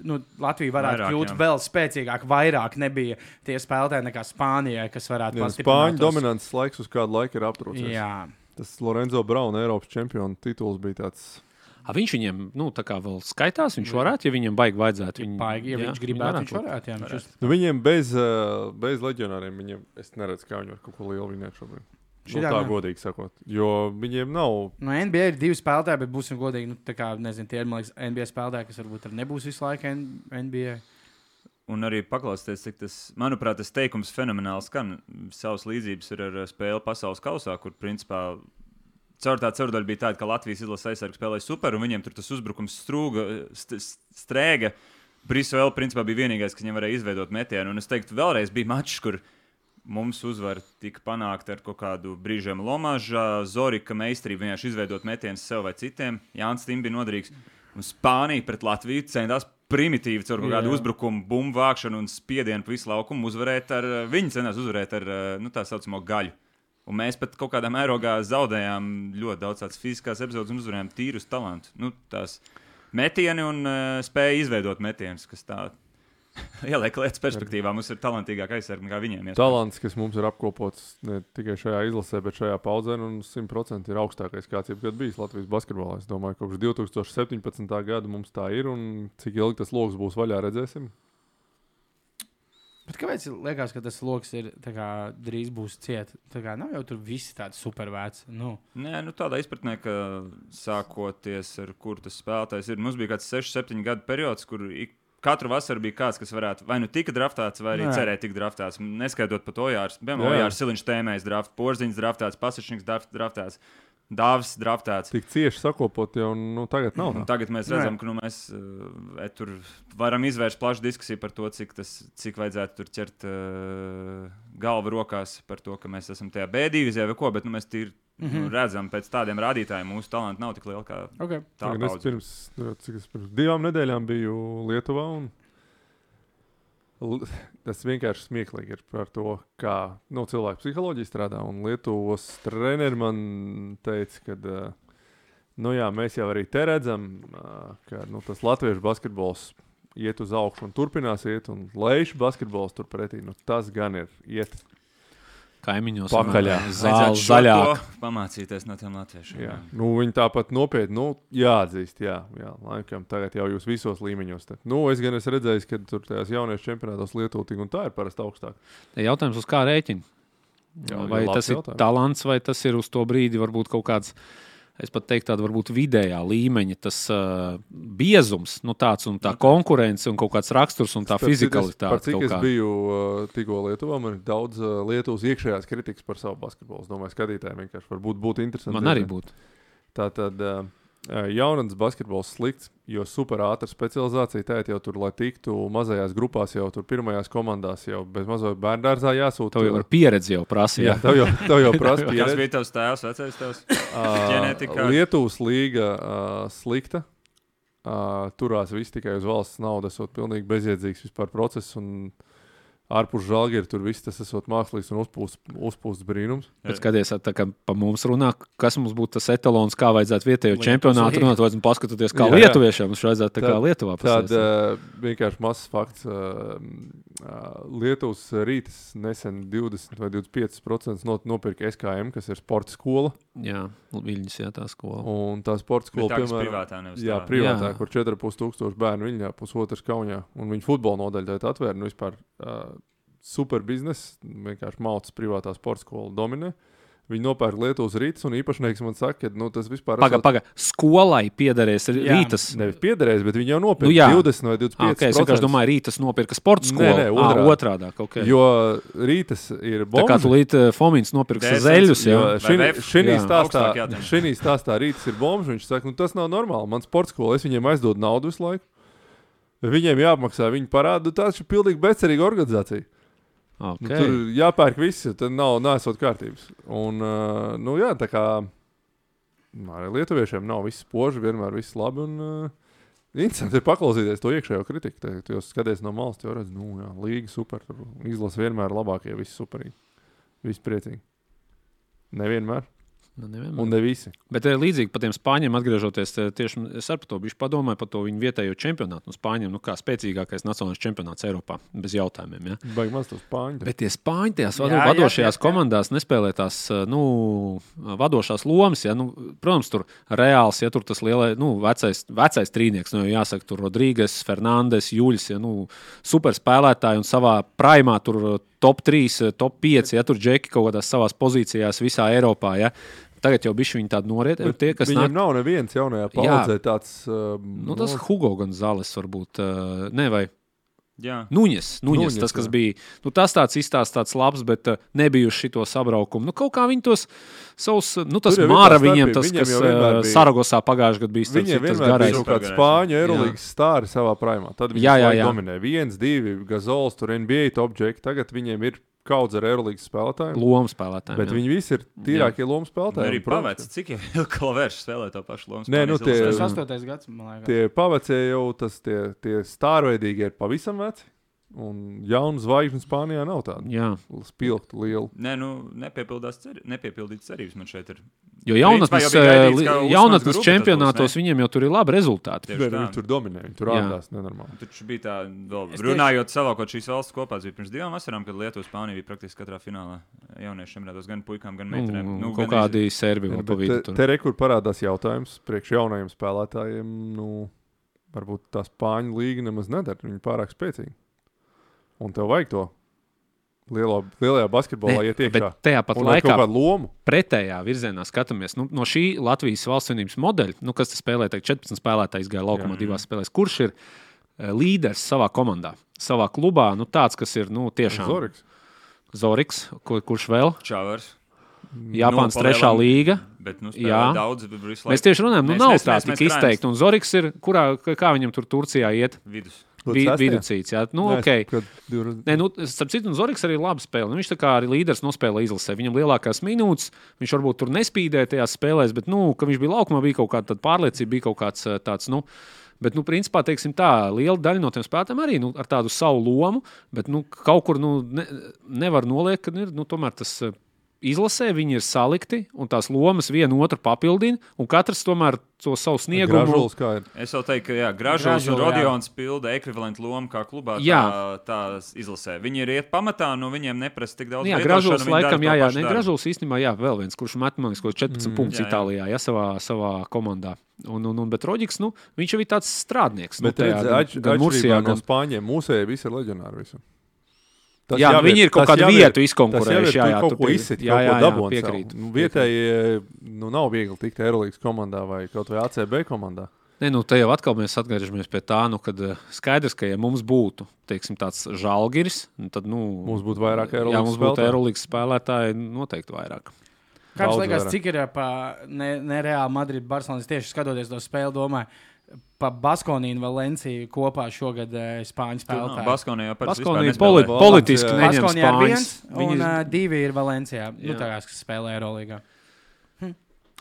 A: Nu, Latvija varētu
B: Vairāk,
A: vairāk, kļūt
B: jā.
A: jā. vēl spēcīgāka, vairāk nebija tie spēlētāji nekā Spānijai, kas varētu
D: Jā,
A: pastiprināt
D: Spāņu
A: tos-
D: dominants laiks uz kādu laiku ir aptrūcis.
A: Jā,
D: Tas Lorenzo Brauna Eiropas čempiona tituls bija tāds.
C: A, viņš viņiem nu, tā kā vēl skaitās, viņš varētu, ja viņam baigi vajadzētu. Viņi,
A: Paigi, ja
C: jā,
A: viņš gribētu, viņš
C: varētu.
A: varētu. Jā, viņš uz-
D: Nu, viņiem bez, eh, bez leģionāriem viņiem, es neredzu, kā viņi var kaut ko lielu vinēt šobrīd. Nu,
A: Šitā
D: tā
A: ne.
D: godīgi sakot, jo viņiem nav.
A: No NBA ir divi spēlētāji, bet būsim godīgi. Nu, tā kā, nezinu, tie ir man liekas, NBA spēlētāji, kas varbūt arī nebūs visu laiku N- NBA.
B: Un arī paklausties, cik tas, manuprāt, tas teikums fenomenāli skan. Savas līdzības ir ar eh, spēli pasaules kausā, kur principā caur tā ceturdaļa bija tāda, ka Latvijas izlases aizsargs spēlēja super, un viņiem tur tas uzbrukums strūga, st st- strēga. Brīselē principā bija vienīgais, kas viņam varēja izveidot metienu. Un es teiktu, vēlreiz bija mačs, kur mums uzvara tika panākta ar kaut kādu brīžiem Lomaža, Zorika meistarību vienkārši izveidot metienus sev vai citiem. Jānis Tim bija noderīgs. Un Spānija pret Latviju centās primitīvi caur kaut kādu
A: Jā.
B: uzbrukumu, bumbu vākšanu un spiedienu pa visu laukumu uzvarēt ar, eh, viņi centās uzvarēt ar nu, tā saucamo gaļu. Un mēs pat kaut kādā mērogā zaudējām ļoti daudz tādas fiziskās epizodes un uzvarējām tīrus talantus. Nu, tās metieni un uh, spēja izveidot metienus, kas tā ieliek lietas perspektīvā. Mums ir talantīgāk aizsargi nekā viņiem. iespējams.
D: Talants, kas mums ir apkopots ne tikai šajā izlasē, bet šajā paudzē, un 100% ir augstākais, kāds jebkad bijis Latvijas basketbolā. Es domāju, ka kopš 2017. gada mums tā ir, un cik ilgi tas lokus būs vaļā, redzēsim.
A: Bet kāpēc liekas, ka tas lokus ir tā kā, drīz būs ciet? Tā kā, nav jau tur viss tāds supervērts. Nu,
B: Nē, nu tādā izpratnē, ka sākoties ar kur tas spēlētājs ir, mums bija kāds 6, 7 gadu periods, kur ik, katru vasaru bija kāds, kas varētu vai nu tika draftāts, vai arī
A: Nē.
B: cerēja tikt draftāts. Neskaidrot pat Ojārs,
D: Jā.
B: piemēram, Ojārs Siliņš tēmējas draft, Porziņš draftāts, Pasišņiks draf- draftāts, Dāvs draftāts.
D: Tik cieši sakopot, jau nu, tagad nav.
B: Un
D: tā.
B: tagad mēs redzam, ka nu, mēs uh, et tur varam izvērst plašu diskusiju par to, cik, tas, cik vajadzētu tur ķert uh, galvu rokās par to, ka mēs esam tajā B divizijā vai ko, bet nu, mēs tīri mm -hmm. nu, redzam, pēc tādiem rādītājiem mūsu talanti nav tik lieli kā
A: okay.
B: tā.
D: Tagad Es
B: paudze.
D: pirms, nu, cik es pirms divām nedēļām biju Lietuvā. Un... L- Tas vienkārši smieklīgi ir par to, kā nu, cilvēka psiholoģija strādā. Un Lietuvas treneris man teica, ka uh, nu, jā, mēs jau arī te redzam, uh, ka nu, tas latviešu basketbols iet uz augšu un turpinās iet, un lejuši basketbols turpretī. Nu, tas gan ir iet.
C: Kaimiņos
D: Pakaļā.
B: Vajadzētu
C: Zāle
B: šo
C: zaļāk.
B: to Pamācīties no tiem latviešiem.
D: Jā. Nu, viņi tāpat nopietni, nu, jāatzīst, jā, jā laikam, tagad jau jūs visos līmeņos. Te. Nu, es gan esmu redzējis, ka tur tajās jauniešu čempionātos Lietuvā tik un tā ir parasti augstāk.
C: Jautājums, uz kā rēķina?
D: Jā,
C: Vai
D: labs
C: tas ir
D: jautājums.
C: talants, vai tas ir uz to brīdi varbūt kaut kāds, es pat teiktu, tāds varbūt vidējā līmeņa, tas uh, biezums, nu tāds un tā konkurence un kaut kāds raksturs un tā
D: Starp citu, es- Mhm. Par
C: fizikalitāte.
D: cik
C: kaut
D: es
C: kā.
D: biju uh, tikko Lietuvā, man ir daudz uh, Lietuvas iekšējās kritikas par savu basketbolu. Es domāju, skatītājiem vienkārši var būt, būt interesanti.
C: Man arī būtu.
D: Tātad uh, jaunatnes basketbols slikts, jo superātra specializācija tēt jau tur, lai tiktu mazajās grupās, jau tur pirmajās komandās, jau bez mazā bērnu dārzā jāsūta.
C: Tev jau ir pieredze, jau prasīja.
D: Jā, tev jau, tev jau prasa
B: Tas
D: pieredze.
B: bija tavs tēvs, vecais tēvs.
D: Ā,
B: Ģenētikā.
D: Ah, Lietuvas līga uh, slikta. Uh, turās viss tikai uz valsts naudas, esot pilnīgi bezjēdzīgs vispār process. un Ārpus žāģa ir tur viss, tas esot mākslīgs un uzpūsts, uzpūsts brīnums.
B: Jā.
C: Bet skaties, tā kā pa mums runā, kas mums būtu tas etalons, kā vajadzētu vietējo
A: Lietuvas
C: čempionātu
A: līga.
C: runāt, vai paskatoties, kā
D: Jā, jā.
C: lietuviešiem mums vajadzētu tā kā
D: Tad-
C: Lietuvā
D: Tāds
C: pasēst.
D: uh, vienkārši mazs fakts. Uh, uh, Lietuvas rītas nesen 20 vai 25% no, nopirka SKM, kas ir sporta skola.
C: Jā, Viļņas, jā, tā skola.
D: Un tā sporta
B: Ko
D: skola,
B: tā, kas
D: piemēram,
B: privātā nevis
D: Jā,
B: tā.
D: privātā, jā.
C: Jā.
D: kur 4,5 bērnu viņa pusotras kaunijā. Un viņa futbola nodaļa tagad atvērta. Nu, vispār uh, super biznesa. Vienkārši malts privātā sporta skola dominē. Viņi nopērk Lietuvas rītas, un īpašnieks man saka, ka nu, tas vispār
C: Pagaid, pagaid, skolai piederēs
A: Jā.
C: rītas.
D: Nevis piederēs, bet viņi jau nopērk
C: Nu
D: nu,
C: jā.
D: 20 vai
C: Ah,
D: 25.
C: okay, es vienkārši domāju, rītas nopirka sporta
D: Nē,
C: skolu.
D: nē,
C: ah,
D: otrādi.
C: otrādi. Okay.
D: Jo rītas ir
C: Tā kā
D: bomba.
C: tu līdzi Fomins nopirksi
B: Dēsens,
C: zeļus, jau
B: jo- Vai vef?
D: Šī
C: Jā.
D: stāstā,
B: Augstāk jādomā.
D: šī stāstā rītas ir bombs. Viņš saka, nu, tas nav normāli. Man sports skolā es viņiem aizdodu naudu visu laiku. Viņiem jāapmaksā viņa parādu. Tā ir pilnīgi bezcerīga organizācija. Okay. Nu, tur
C: okay.
D: jāpērk viss, jo tad nav nesot kārtības. Un, uh, nu, jā, tā kā nu, arī lietuviešiem nav viss spoži, vienmēr viss labi. Un, uh, Interesanti ir paklausīties to iekšējo kritiku. Tagad, kad jūs skatāties no malas, jau redzat, nu, jā, līga super. tur Izlase vienmēr ir labākie, visi superīgi. Visi priecīgi. Nevienmēr.
C: Nu, nevienmēr.
D: Un ne visi.
C: Bet eh, līdzīgi par tiem spāņiem, atgriežoties, eh, tieši es ar to biju padomājis par to viņu vietējo čempionātu. Nu, spāņiem, nu, kā spēcīgākais nacionālais čempionāts Eiropā, bez jautājumiem. Ja?
D: Baigi maz tos pāņi.
C: Bet tie spāņi tajās vado,
A: Jā,
C: jā,
A: jā,
C: vadošajās jā,
A: jā,
C: jā,
A: jā.
C: jā. komandās nespēlē tās eh, nu, vadošās lomas. Ja? Nu, protams, tur reāls, ja tur tas lielais, nu, vecais, vecais trīnieks, nu, jau jāsaka, tur Rodrīgas, Fernandes, Juļs, ja nu, superspēlētāji un savā primā tur eh, top 3, eh, top 5, ja tur džeki kaut kādās savās pozīcijās visā Eiropā. Ja? Tagad jau bijuši viņi tādi norietēji, tie, kas
D: Viņam
C: nāk
D: nāk... nav neviens jaunajā paudzē tāds. Uh,
C: Nu, tas Hugo Gonzales varbūt. Uh, ne, vai
B: Jā.
D: Nu,
C: Nuņas, Nuņas,
D: Nuņes,
C: tas, kas
D: jā.
C: bija. Nu, tas tāds izstāsts tāds labs, bet uh, nebija uz šito sabraukumu. Nu, kaut kā viņi tos savus, uh, nu, tas
D: Tur jau ir
C: māra
D: tā
C: viņiem,
D: starpība.
C: tas,
D: Viņiem
C: kas
D: jau vienmēr
C: uh,
D: bija-
C: Saragosā pagājušajā gadā bija starp
D: Viņiem
C: citu, tas
D: vienmēr bija
C: garais.
D: kaut kāda
B: Supergarais.
D: spāņu aerolīgas stāra savā primā. Tad viņi
C: Jā, jā, jā.
D: dominēja. Viens, divi, Gazols, tur NBA top objekti. Tagad viņiem ir kaudz ar aerolīgas spēlētājiem.
C: Lomu spēlētājiem.
D: Bet
C: jā.
D: viņi visi ir tīrākie lomu spēlētāji.
B: Arī
D: un, protams,
B: pavēcis, cik jau klavēršs spēlē to pašu lomu.
D: Nē, nu,
B: Spānijas
D: tie-
B: izlasē.
A: Tas 8. gads, man liekas.
D: Tie pavecie jau tas, tie, tie stārveidīgie ir pavisam veci. Un jaunu zvaigžņu Spānijā nav tādu
C: Jā,
D: spilgtu lielu.
B: Nē, nu, nepiepildās cer... nepiepildīts cerības man šeit ir.
C: jo
B: Rīts vai
C: jaunatnes,
B: jau bija gaidīts,
C: eh,
B: ka Usmans
C: jaunatnes
B: grupa tas būs,
C: čempionātos
B: ne?
C: viņiem jau tur ir labi rezultāti.
B: Tieši
D: Nē,
B: tā.
D: Viņi tur dominē, viņi tur
C: Jā.
D: ādās nenormāli.
B: Taču bija tā, vēl
A: Es tieši-
B: runājot, savākot šīs valsts kopā. Tas bija pirms divām vasarām, kad Lietuva un Spānija bija praktiski katrā finālā. Jauniešiem rādās gan puikām, gan
C: Nu,
B: meitenēm.
C: nu, kaut
B: gandrīz-
C: kādi serbi vēl
D: Ir,
C: pa
D: bet
C: vidu.
D: te,
C: tur.
D: te rekur parādās jautājums priekš jaunajiem spēlētājiem. Nu, varbūt tā spāņu līga nemaz nedara. Viņi pārāk spēcīgi. Un tev vajag to lielo, lielajā basketbolā
C: Ne,
D: iet
C: Bet
D: iekšā.
C: tajā pat
D: Un lai
C: laikā
D: kaut kādu lomu.
C: pretējā virzienā skatāmies, nu, no šī Latvijas valstsvienības modeļa, nu, kas te spēlē, teikt, 14 spēlētāji gāja laukumā divās spēlēs, kurš ir eh, līderis savā komandā, savā klubā, nu, tāds, kas ir nu, tiešām
D: Zoriks.
C: Zoriks, kur, kurš vēl?
B: Čāvers.
C: Japānas
B: Nu,
C: trešā
B: palielam.
C: līga.
B: Bet, nu,
C: Jā.
B: spēlē daudz, bet visu laiku.
C: Mēs tieši runājam, nu,
B: Mēs-
C: nav
B: mēs-
C: tā
B: mēs- mēs
C: tik
B: krājam.
C: izteikti. Un Zoriks ir, kurā, kā viņam tur Turcijā iet,
B: Vidus.
D: Kaut
C: vi-
D: sestajā?
C: viduscīts. jā. Nu,
D: Nē,
C: okay.
D: es kaut kad divreiz-
C: Nē, nu, starp citu, un Zorigs arī labi spēlē. Nu, viņš tā kā arī līderis nospēlē izlasē. Viņam lielākās minūtes, viņš varbūt tur nespīdēja tajās spēlēs, bet, nu, ka viņš bija laukumā, bija kaut kāda tāda pārliecība, bija kaut kāds eh, tāds, nu, Bet, nu, principā, teiksim, tā liela daļa no tiem spēlētājiem arī nu, ar tādu savu lomu, bet nu, kaut kur nu, ne, nevar noliekt, ka ir nu, tomēr tas eh, izlasē, viņi ir salikti un tās lomas viena otru papildina, un katrs tomēr to savu sniegumu
D: Gražulis kā ir.
B: Es jau teiktu, ka jā, Gražulis un
A: Gražula, jā.
B: Rodions pilda ekvivalentu lomu kā klubā.
C: Jā.
B: Tā, tā izlasē. Viņi ir iet pamatā, no viņiem neprasa tik daudz.
C: Nu, jā,
B: lietošanu,
C: Gražulis
B: viņi dara
C: laikam,
B: to
C: jā, jā,
B: pašu
C: ne,
B: darbu.
C: Gražulis īstenībā, jā, vēl viens, kurš matemātiski 14 mm, punktus
B: jā, jā.
C: Itālijā, jā, savā, savā komandā. Un, un, un, bet Rodžiks, nu, viņš jau ir tāds strādnieks.
D: Bet
C: nu, tajā,
D: redz,
C: gan-
D: atš-
C: gan Mursijā,
D: atšķirībā no
C: gan-
D: spāņiem mūsēji visi ir leģionāri. Visu. Tas
C: Jā, nu,
D: jau
C: viņi ir kaut
D: tas
C: kādu
D: jau
C: vietu
D: tas jau
C: izkonkurējuši,
D: ir,
C: jā,
D: tu
C: jā,
D: kaut
C: tu
D: ko
C: pie-
D: izsaka,
C: jā,
D: kaut ko
C: jā, jā,
D: dabūt. sev.
C: piekrītu,
D: Nu, Vietēji nu, nav viegli tikt Eirolandes komandā vai kaut vai ACB komandā.
C: Nē, nu, te jau atkal mēs atgriežamies pie tā, nu, kad eh, skaidrs, ka, ja mums būtu, teiksim, tāds žalgiris, nu, tad, nu,
D: Mums būtu vairāk
C: jā, mums
D: Eirolandes
C: būtu Eirolandes spēlētāji noteikti vairāk.
A: Kāds
D: Daudz
A: liekas,
D: vairāk.
A: cik ir ā, pa ne, nereāli Madrid, Barcelonas tieši skatoties to spēli, domāju, pa Baskonīnu, Valenciju kopā šogad ā, Spāņu spēlētāju.
B: Nu, Baskonijā par
C: Baskonija poli politiski
D: Baskoni
C: neņem
A: Baskonijā ir
C: spāņus.
A: viens, un
B: eh,
C: Viņas-
A: Viņas... divi ir Valencijā. Nu,
C: Jā.
A: tā kā kas spēlē Eirolandā. Hm.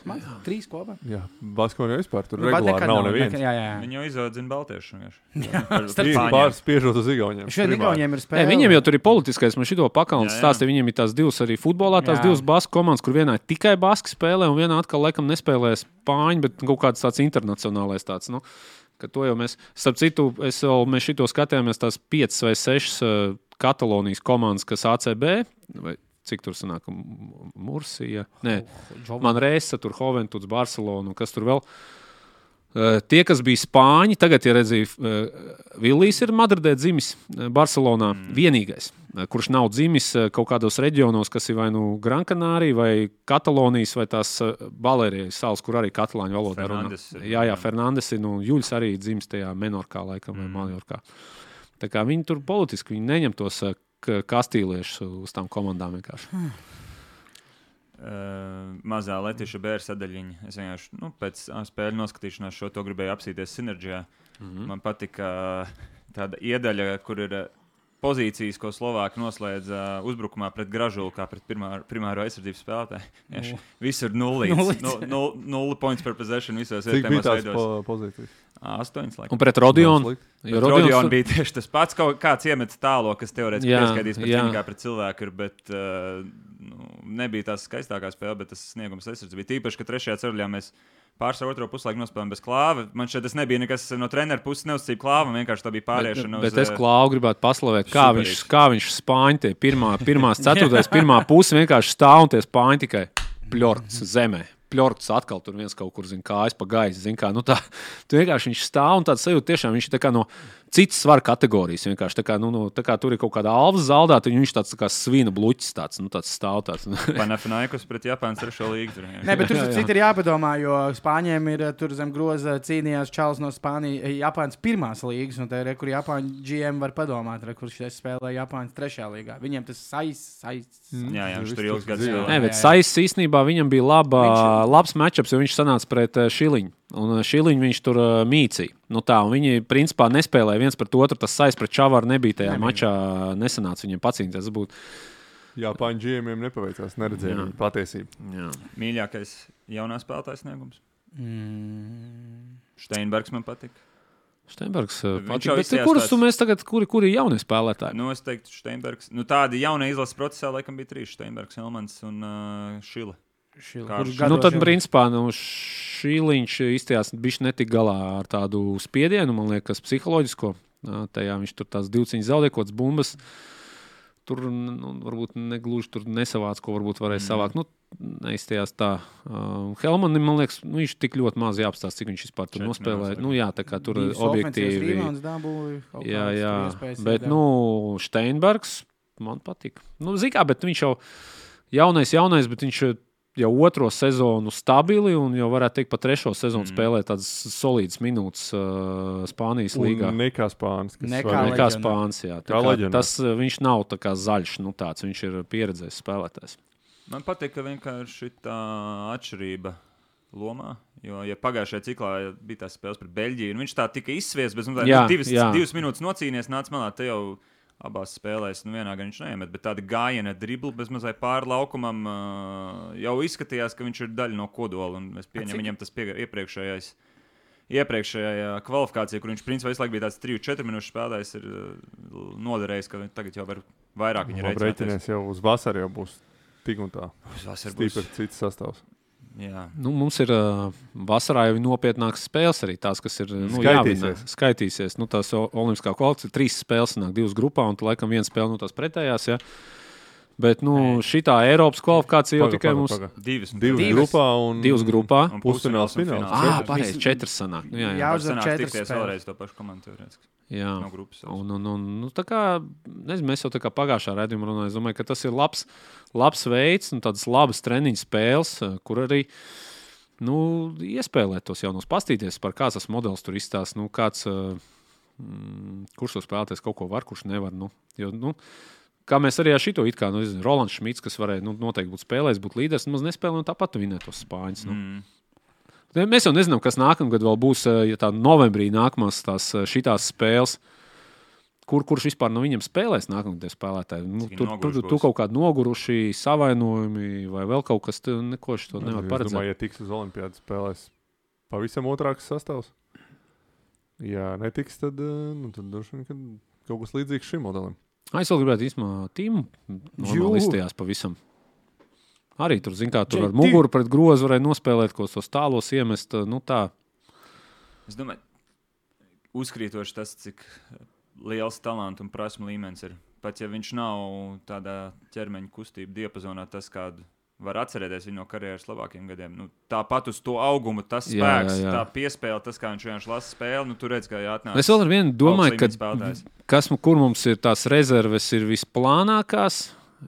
A: Man trīs kopā.
D: Jā, Baskovā vispār tur
A: Nu, bet
D: regulāri
A: nekad
D: nav
A: nav, nekad-
D: neviens.
A: Jā, jā.
B: Viņu izaudzina Baltiešu. vienkārši.
A: starp
D: Viņi
B: Spāņiem.
D: pārspiežot uz Igauniem.
A: Šodien
D: Primāri.
A: Igauniem ir spēle.
C: Nē, viņiem jau tur ir politiskais. Man šito pakauns
B: Jā, jā.
C: stāsta, viņiem ir tās divas arī futbolā,
A: Jā.
C: tās jā. divas basku komandas, kur vienā ir tikai basku spēlē, un vienā atkal laikam nespēlē spāņu, bet kaut kāds tāds internacionālais tāds. Nu. ka To jau mēs, starp citu, es vēl, mēs šito skatījāmies, tās piecas vai sešas eh, Katalonijas komandas, kas ACB, vai cik tur sanāk, M- Mursija, nē, Manresa, tur Hoventuds, Barcelona, un kas tur vēl. Eh, Tie, kas bija spāņi, tagad, ja redzēju, Vilnius ir Madridē dzimis, eh, Barcelonā mm. vienīgais, eh, kurš nav dzimis eh, kaut kādos reģionos, kas ir vai nu Grankanārija, vai Katalonijas, vai tās Balērijas salas, kur arī katalāņu valodā runā.
B: Fernandes ir,
C: Jā,
B: jā.
C: jā, Fernandes ir, un Juļs arī dzimis tajā Menorkā, laikam, mm. vai Maljorkā. Tā kā viņi tur politiski viņi neņem tos eh, k- kastīliešus uz tām komandām vienkārši.
B: Uh, mazā Latvijas bērnu sadaļiņa. Es vienkārši nu, pēc ā, spēļu noskatīšanās šo to gribēju apsīties sinerģijā. Mm
D: Mhm.
B: -hmm. Man patika eh, tāda iedaļa, kur ir ā, pozīcijas, ko Slovāki noslēdza ā, uzbrukumā pret Gražulu, kā pret primāro, primāro aizsardzības spēlētāju.
D: Nu.
B: Vienkārši Visur nulli.
A: Nulīts.
B: Nulli points par possession visos
D: Cik bija
B: vietējos
D: tās
B: veidos.
D: po pozīcijas?
B: Ā, Astoņas laikam.
C: Un pret Rodionu.
D: Nav slikti.
B: Jo Rodions bija tieši tas pats. Kaut kāds iemet tālo, kas teorētiski
C: Jā,
B: pieskaitīs pēc
C: jā.
B: tam, kā pret cilvēku ir. Bet, uh, nu, nebija tās skaistākās spēles, bet tas sniegums aizsardzības bija tīpaši, ka trešajā ceļā mēs pārsvaru otro puslaiku nospēlējām bez klāva. Man šeit tas nebija nekas no treneru puses neuzcīja klāvam, vienkārši tā bija pāriešana.
C: Bet, bet es klāstu gribētu paslavēt, kā
B: superīgs.
C: viņš, kā viņš spāņķi tie pirmā, pirmās, ceturtais, pirmā puse vienkārši stāv un tie spāņķi tikai pļorts zemē. Pļorts atkal tur viens kaut kur zina, kā es pa gaisu. Zin, kā, nu tā, tu vienkārši viņš stāv un tāds sajūta, tiešām viņš ir tā kā no citas svara kategorijas. Vienkārši tā kā, nu, no, tā kā tur ir kaut kāda alfa zaldāta, un viņš tāds tā kā svina bluķis tāds, nu tāds stāv tāds.
B: Panafinaikus pret Japānas trešo līgu. tur vienkārši.
A: Nē, bet tur
C: Jā,
A: jā, jā.
C: jā.
A: citi ir jāpadomā, jo Spāņiem ir eh, tur zem groza cīnījās Čāles no Spānijas, eh, Japānas pirmās līgas, un te ir, kur Japāņu GM var padomāt, re, kurš šeit spēlē Japānas trešajā līgā. Viņiem tas saistās.
B: Jā, jā, viņš tur ilgs gads
D: dzīvo.
B: spēlēja.
C: Nē,
A: Jā,
C: bet
A: jā, jā.
C: Saisas īstenībā viņam bija laba,
A: Viņš-
C: labs matčups, jo viņš sanāca pret eh, Šiliņu. Un eh, Šiliņu viņš tur eh, mīcīja. Nu tā, un viņi principā nespēlēja viens pret otru. Tas Saisas pret Čavāru nebija tajā nebija. mačā. eh, Nesanāca viņam pacīnīties. Tas būtu-
D: Jā, pāriņķiem nepaveicās. Neredzēju
C: Jā.
D: viņu patiesību.
B: Mīļākais jaunā spēlētāja sniegums.
A: Mm.
B: Steinbergs man patika.
C: Steinbergs.
B: Viņš
C: eh,
B: jau
C: Patīk, bet te
B: izsījās
C: kurus
B: tāds-
C: tu mēs tagad, kuri, kuri ir jaunie spēlētāji?
B: Nu, es teiktu, Steinbergs. Nu, tāda jauna izlases procesā laikam bija trīs. Steinbergs, Elmans un uh, Šila.
A: Šil-
B: Kā
A: kurš
B: šis-
C: Nu,
A: gados
C: tad,
A: jau-
C: principā, nu, Šīliņš īstenībā bija netik galā ar tādu spiedienu, man liekas, psiholoģisko. Ā, Tajā viņš tur tās divciņas zaudēja, kaut kādas bumbas. Tur nu, varbūt negluži tur nesavāca, ko varbūt
A: Mm.
C: varēja savākt. Nu, Neizstājās tā. Uh, Helmanim, man liekas, nu, viņš tik ļoti maz jāapstāsta, cik viņš vispār tur
B: Četri
C: nospēlēja.
B: minūtes,
C: Nu, jā, tā kā tur
A: divus ofensīvas
C: objektīvi.
A: rebounds dabūja, kaut
C: Jā,
A: kādas
C: jā.
A: tur iespējas
C: Bet,
A: iedeva.
C: nu, Steinbergs man patīk. Nu, Zinām, bet viņš jau jaunais, jaunais, bet viņš jau otro sezonu stabili un jau varētu teikt, pat trešo sezonu mm. spēlē tādas solīdas minūtes uh, Spānijas līgā.
D: Un Nekā spānis. kas
A: Nekā
C: Kā
D: svarīgi.
A: leģendārs.
C: spāns, jā. Tā
D: Kā
C: Kā
D: leģendārs.
C: tas uh, viņš nav tā kā zaļš, nu tāds viņš ir pieredzējis spēlētājs.
B: Man patīk, ka vienkārši tā atšķirība lomā. Jo, ja pagājušajā ciklā bija tās spēles pret Beļģiju, un viņš tā tika izsviests, bet nu, tā, jā,
C: Jā,
B: divas,
C: jā.
B: divas minūtes nocīnījies, nāca malā. Te jau abās spēlēs, nu, vienā gan viņš neiemet, bet tāda gājiena dribla bezmazliet pāri laukumam ā, jau izskatījās, ka viņš ir daļa no kodola. un Es pieņemu, viņam tas pie, iepriekšējais. Iepriekšējā kvalifikācijā, kur viņš principā visu laiku bija tāds 3-4 minūšu spēlētājs, ir ā, noderējis, ka tagad jau var vairāk viņa
D: Labi,
B: rēķināties.
D: Reiķinies jau uz vasaru jau būs tik un tā.
B: Tas
D: Stīpri cits sastāvs.
B: Jā,
C: Nu, mums ir uh, vasarā jau nopietnākas spēles, arī tās, kas ir nu,
D: Skaitīsies.
C: jāvinā. skaitīsies. Nu, tās o- olimpiskā kvalifikācija, trīs spēles, nāk divas grupā, un tur laikam viena spēle no tās pretējās. Ja? Bet nu, šī tā Eiropas kvalifikācija jau
D: Paga,
C: tikai
D: paga,
C: mums
D: paga.
B: divas.
D: Divas
A: Divas.
D: grupā un
C: divas grupā.
B: Un
D: pusfināls,
B: pusfināls un
D: fināls.
B: fināls.
C: Ah,
A: četras.
C: pareizi, četras sanāk. Nu, jā, jā.
A: Jā,
B: Var
A: uzvar
B: sanākt
A: četras
B: tikties
A: spēles.
B: vēlreiz to pašu komandu teorētiski
C: jā.
B: no grupas.
C: Nu, Un, un, un, nu, tā kā, nezinu, mēs jau tā kā pagājušā raidījumā runājām, es domāju, ka tas ir labs, labs veids, un tādas labas treniņu spēles, eh, kur arī nu, iespēlēt tos jaunus, paskatīties, par kāds tas modelis tur izstāsta, nu, kāds, eh, mm, kurš to spēlēties, kaut ko var, kurš nevar. Nu, jo, nu, Kā mēs arī ar šo it kā, nu, nezinu, Rolands Šmits, kas varēja nu, noteikti būt spēlējis, būt līderis, nu, maz nespēlēja un tāpat nu, vinēt tos spāņus. Nu. Mm. Mēs jau nezinām, kas nākamgad vēl būs, eh, ja tā novembrī nākamās tās eh, šitās spēles. Kur, kurš vispār no viņiem spēlēs nākamajā spēlētājā? Nu,
B: Cik
C: tur tur,
B: noguruši
C: tur,
B: būs?
C: tur kaut kāda noguruši, savainojumi vai vēl kaut kas tāds, neko šo to nevar
D: Es
C: paredzēt.
D: domāju, ja tiks uz Olimpādas spēlēs, pavisam otrāks sastāvs. Ja netiks, tad, eh, nu, tad droši vien ka kaut kas līdzīgs šim modelim.
C: Es vēl gribētu īstenībā tīmu
D: Jū.
C: listējās pavisam. Arī tur, zināmā mērā, tur ar
D: JT.
C: muguru pret grozu varēja nospēlēt, ko tos tālos iemest. Nu, tā.
B: Es domāju, uzkrītoši tas, cik liels talants un prasmu līmenis ir. Pat ja viņš nav tādā ķermeņa kustību diapazonā, tas kādu var atcerēties viņu no karjeras labākajiem gadiem. Nu, tāpat uz to augumu, tas
C: Jā,
B: spēks, jā,
C: jā,
B: jā.
C: jā.
B: tā piespēle, tas, kā viņš vienkārši lasa spēli, nu, tur redz, kā jāatnāk.
C: Es vēl ar vienu domāju,
B: līmeņa
C: ka
B: spēlētājs.
C: kas, mu- kur mums ir tās rezerves, ir visplānākās.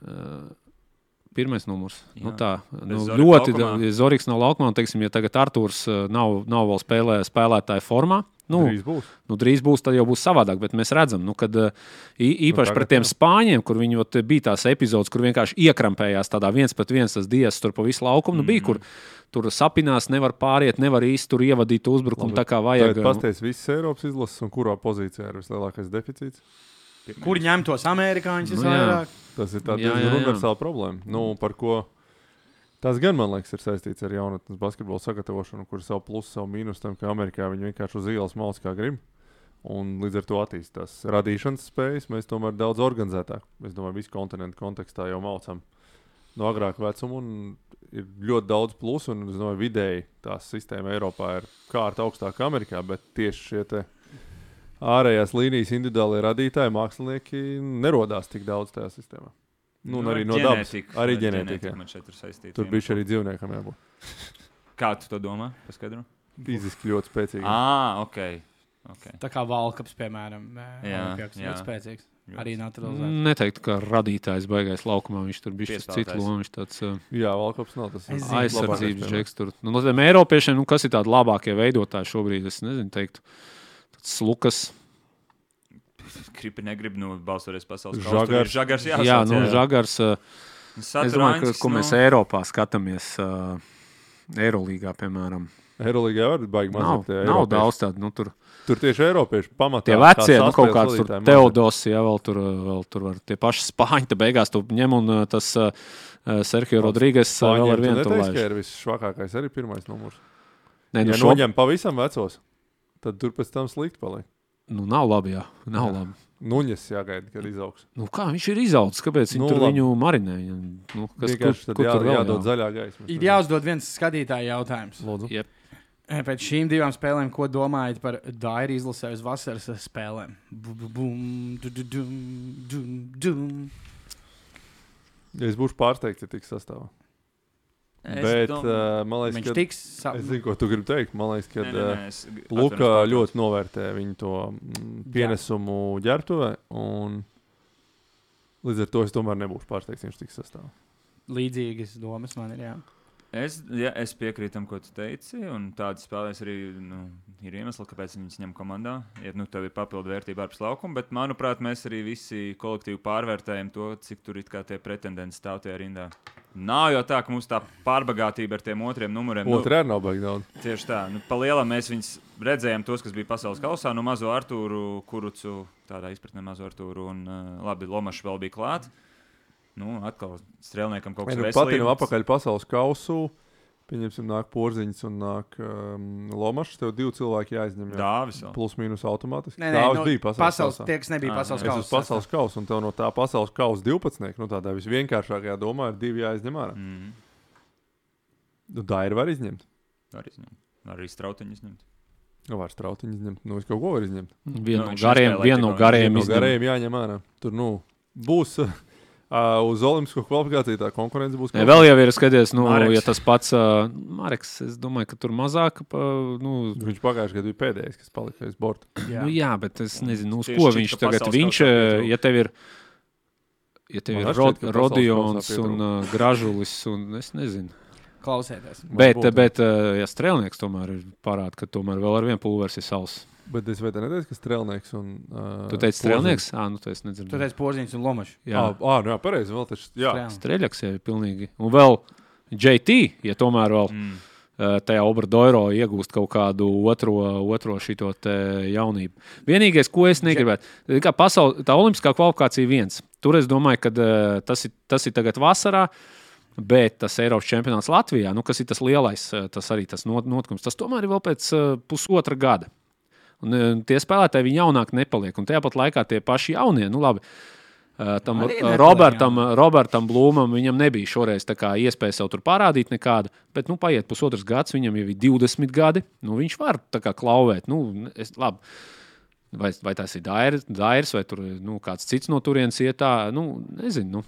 C: Eh, Pirmais numurs.
B: Jā.
C: Nu, tā
B: Bez
C: nu,
B: Zorika
C: ļoti
B: laukumā.
C: da- ja Zorika nav laukumā. un, Teiksim, ja tagad Arthurs eh, nav, nav vēl spēlē, spēlētāja formā. Nu,
D: Drīz būs.
C: Nu, drīz būs tā, jau būs savādāk, bet mēs redzam, nu, kad ā,ī- īpaši
D: tagad
C: nu, pret tiem
D: jau.
C: spāņiem, kur viņi ot, bija tās epizodes, kur vienkārši iekrampējās tādā viens pret viens, tas dievs tur pa visu laukumu nu, bija, kur tur sapinās, nevar pāriet, nevar īsti tur ievadīt uzbrukumu tā kā vajag. eh,
D: Tagad pastāstīs visas Eiropas izlases un kurā pozīcijā ir vislielākais deficīts.
A: Kur ņemt tos amerikāņus?
C: Nu,
A: Nu,
C: jā.
D: Tas ir tāds
C: Jā,
D: diezgan
C: jā, jā.
D: universāls problēma. Nu, par ko tas gan, man liekas, ir saistīts ar jaunatnes basketbolu sagatavošanu, kur savu plusu, savu mīnusu tam, ka Amerikā viņi vienkārši uz ielas malas kā grib. Un līdz ar to attīstās radīšanas spējas. Mēs tomēr daudz organizētāk, es domāju, visu kontinentu kontekstā jau mācām no agrāka vecuma. un Ir ļoti daudz plusu, un es domāju, vidēji tā sistēma Eiropā ir kārta augstāka Amerikā, bet tieši šie te ārējās līnijas individuālie radītāji, mākslinieki nerodās tik daudz tajā sistēmā. Nu, un
B: Nu,
D: arī
B: ar
D: no dabas.
B: ģenētiku,
D: Arī
B: ar
D: ģenētika.
B: ģenētiku man šeit ir saistīta.
D: Tur bija arī dzīvniekam jābūt.
B: Kā tu to domā? Paskaidro.
D: Fiziski ļoti spēcīgi.
B: Ah, ok. okay.
A: Tā kā valkaps, piemēram,
B: Jā,
A: Olimpijakos,
B: jā.
A: ļoti spēcīgs.
B: Ļoti.
A: Arī naturalizēts.
C: Neteiktu, ka radītājs baigais laukumā. Viņš tur bija
B: Piespēlētājs.
C: cits lomas, viņš tāds ā,
D: Jā, Valkops nav tas
A: Es zinu.
C: aizsardzības džeks. Tur. Nu, no tiem Eiropiešiem, nu, kas ir tādi labākie veidotāji šobrīd, es nezinu, teiktu. tāds Lukas,
B: Kripi negrib nu, balsoties pasaules
D: Žagars.
B: Žagars. Žagars jāsauc,
C: Jā, nu,
B: jā.
C: Žagars. ā,
B: Saturāņskis,
C: Es domāju, ka, ko
B: nu.
C: mēs Eiropā skatāmies. Uh, Eirolandā, piemēram,
D: Eirolandā var būt baigi
C: nav,
D: mazāk. tie
C: nav
D: Eiropieši.
C: daudz tādu. Nu, tur
D: Tur tieši Eiropiešu pamatā.
C: tie
D: kā
C: veci, nu,
D: saspēles
C: kaut kāds tur
D: vadītāji mazāk.
C: Teodos, ja vēl tur, uh, vēl tur var tie paši spāņi, tad beigās tu ņem un uh, tas uh, Sergio Rodrīgas uh, vēl
D: Spāņiem
C: ar
D: tu
C: vienu tur
D: neteiksi, ka
C: laiž.
D: ir visšvakākais arī pirmais numurs.
C: Nē, nu,
D: Ja
C: šo,
D: noņem pavisam vecos, tad tur pēc tam slikti paliek.
C: nu, nav labi, jā, nav labi.
D: Nuņas jāgaida, kad izaugs.
C: Nu, kā viņš ir izaudzis, kāpēc viņi
D: Nu,
C: tur
D: labi.
C: viņu marinē? Viņam, Nu, kas, kur,
D: Vienkārši tad
C: kur
D: jā,
C: tur vēl
D: jādod zaļā gaisma.
A: Ir jāuzdod viens skatītāja jautājums. E,
D: Lūdzu.
A: Pēc šīm divām spēlēm, ko domājat par Dairu izlasē uz vasaras spēlēm? Bu- bu- bum, du- du- dum, dum, dum.
D: Ja es būšu pārsteigts, ja tiks sastāvā.
B: Es
D: Bet
B: dom-
D: uh, man liekas,
A: Viņš
D: ka
A: tiks sa-
D: Es zinu, ko tu gribi teikt. Man liekas, ka
B: Nē, nē, nē,
D: uh,
B: es g-
D: Luka
B: atvainojos,
D: ļoti novērtē viņu to mm,
A: Jā.
D: pienesumu ģērbtuvē. un Līdz ar to es tomēr nebūšu pārsteigts, ja viņš tiks sastāvā.
A: līdzīgas domas. Man ir jā.
B: Es, ja, es piekrītu tam, ko tu teici. Tādas spēlēs arī nu, ir iemesli, kāpēc viņas ņem komandā. Ja nu, tev ir papildu vērtība ārpus laukuma, bet, manuprāt, mēs arī visi kolektīvi pārvērtējam to, cik tur ir kā tie pretendenti stāv tajā rindā. Nav jau tā, ka mums tā pārbagātība ar tiem otriem numuriem. nu,
D: Otrā arī nav baigta daudz.
B: Tieši tā, nu, palielā mēs viņus redzējām, tos, kas bija pasaules kausā, no mazo Artūru, kurucu, tādā izpratnē mazo Artūru, un uh, labi, Lomašs vēl bija klāt. Nu, atkal strēlniekam kaut kas
D: Viņam nu patīk apakaļ pasaules kausu. Pieņemsim, nāk porziņš un nāk um, lomašs. Tev divi cilvēki jāizņem. Jā.
B: Dāvis vēl.
D: Plus mīnus automātiski.
A: Nē, nē,
D: Dāvis
A: nu,
D: bija pasaules
A: pasaules
D: kausā.
A: tie, kas nebija
B: Ā,
A: pasaules
B: jā.
D: Es uz
A: kausā.
D: pasaules kausa, un tev no tā pasaules kausa 12. Nu, tādā visvienkāršākajā domā ir divi jāizņem ārā.
B: Mm,
D: Nu, tā ir var izņemt.
B: arī izņemt. Arī strautiņu izņemt.
D: Nu, var strautiņu izņemt. Nu, es kaut ko varu izņemt.
B: Nu,
C: Vienu no
B: viņš
C: gariem,
B: nespēlē
C: vienu no
B: tikai-
C: gariem
D: No
C: izņem.
D: garajiem jāņem ārā. Tur nu, būs uh, uz Olimpisko kvalifikāciju tā konkurence. Būs
C: Nē, vēl jau ir skaties, nu,
B: Mareks.
C: ja tas pats uh, Marks, es domāju, ka tur mazāk, pa- nu,
D: Viņš pagājušajā gadā bija pēdējais, kas palika aiz borta.
A: Jā.
C: Jā. Nu, jā, bet es nezinu, uz
B: Tieši
C: ko
B: šķiet,
C: viņš
B: ka
C: tagad
B: pasaules
C: viņš,
B: kausā pietrūkst.
C: ja tev ir. Ja tev
D: Man
C: ir
D: arī
C: rod,
D: šķiet, ka pasaules
C: Rodions
D: kausā
C: un uh, Gražulis, un es nezinu,
A: klausieties.
C: Bet,
D: būtu.
C: bet eh, ja strēlnieks tomēr ir parāda, ka tomēr vēl ar vienu pulvers ir savs.
D: Bet es vēl neteicu, ka strēlnieks un. Uh,
C: Tu teici, strēlnieks? Jā, nu tas
A: Tur
C: nedzirdēju.
A: redzat, porziņš un lomačs.
D: Jā,
C: Jā,
B: Oh,
D: ah, jā pareizi. Vēl taču. Jā,
A: Strēlnieks.
C: strēlnieks ir pilnīgi. Un vēl JT, ja tomēr vēl
B: Mm.
C: eh, tajā Obradoiro iegūst kaut kādu otro, otro šito te jaunību. Vienīgais, ko es negribētu, ir kā pasaul, tā olimpiskā kvalifikācija viens. Tur es domāju, ka eh, tas, ir- tas ir tagad vasarā. Bet tas Eiropas čempionāts Latvijā, nu, kas ir tas lielais, eh, tas arī tas not- notikums, tas tomēr ir vēl pēc eh, pusotra gada. Un, eh, tie spēlētāji, viņi jaunāki nepaliek. Un tajā pat laikā tie paši jaunie, nu labi. eh, Tam
A: Arī
C: eh,
A: nepaliek
C: Robertam, Robertam Blūmam viņam nebija šoreiz tā kā iespēja sev tur parādīt nekādu, bet nu, paiet pusotrs gads, viņam jau ir 20 gadi. Nu, viņš var tā kā klauvēt. Nu, es, labi, vai, vai tas ir Dairis, Dairis vai tur, nu, kāds cits no turienes iet tā, nu, nezinu. Nu.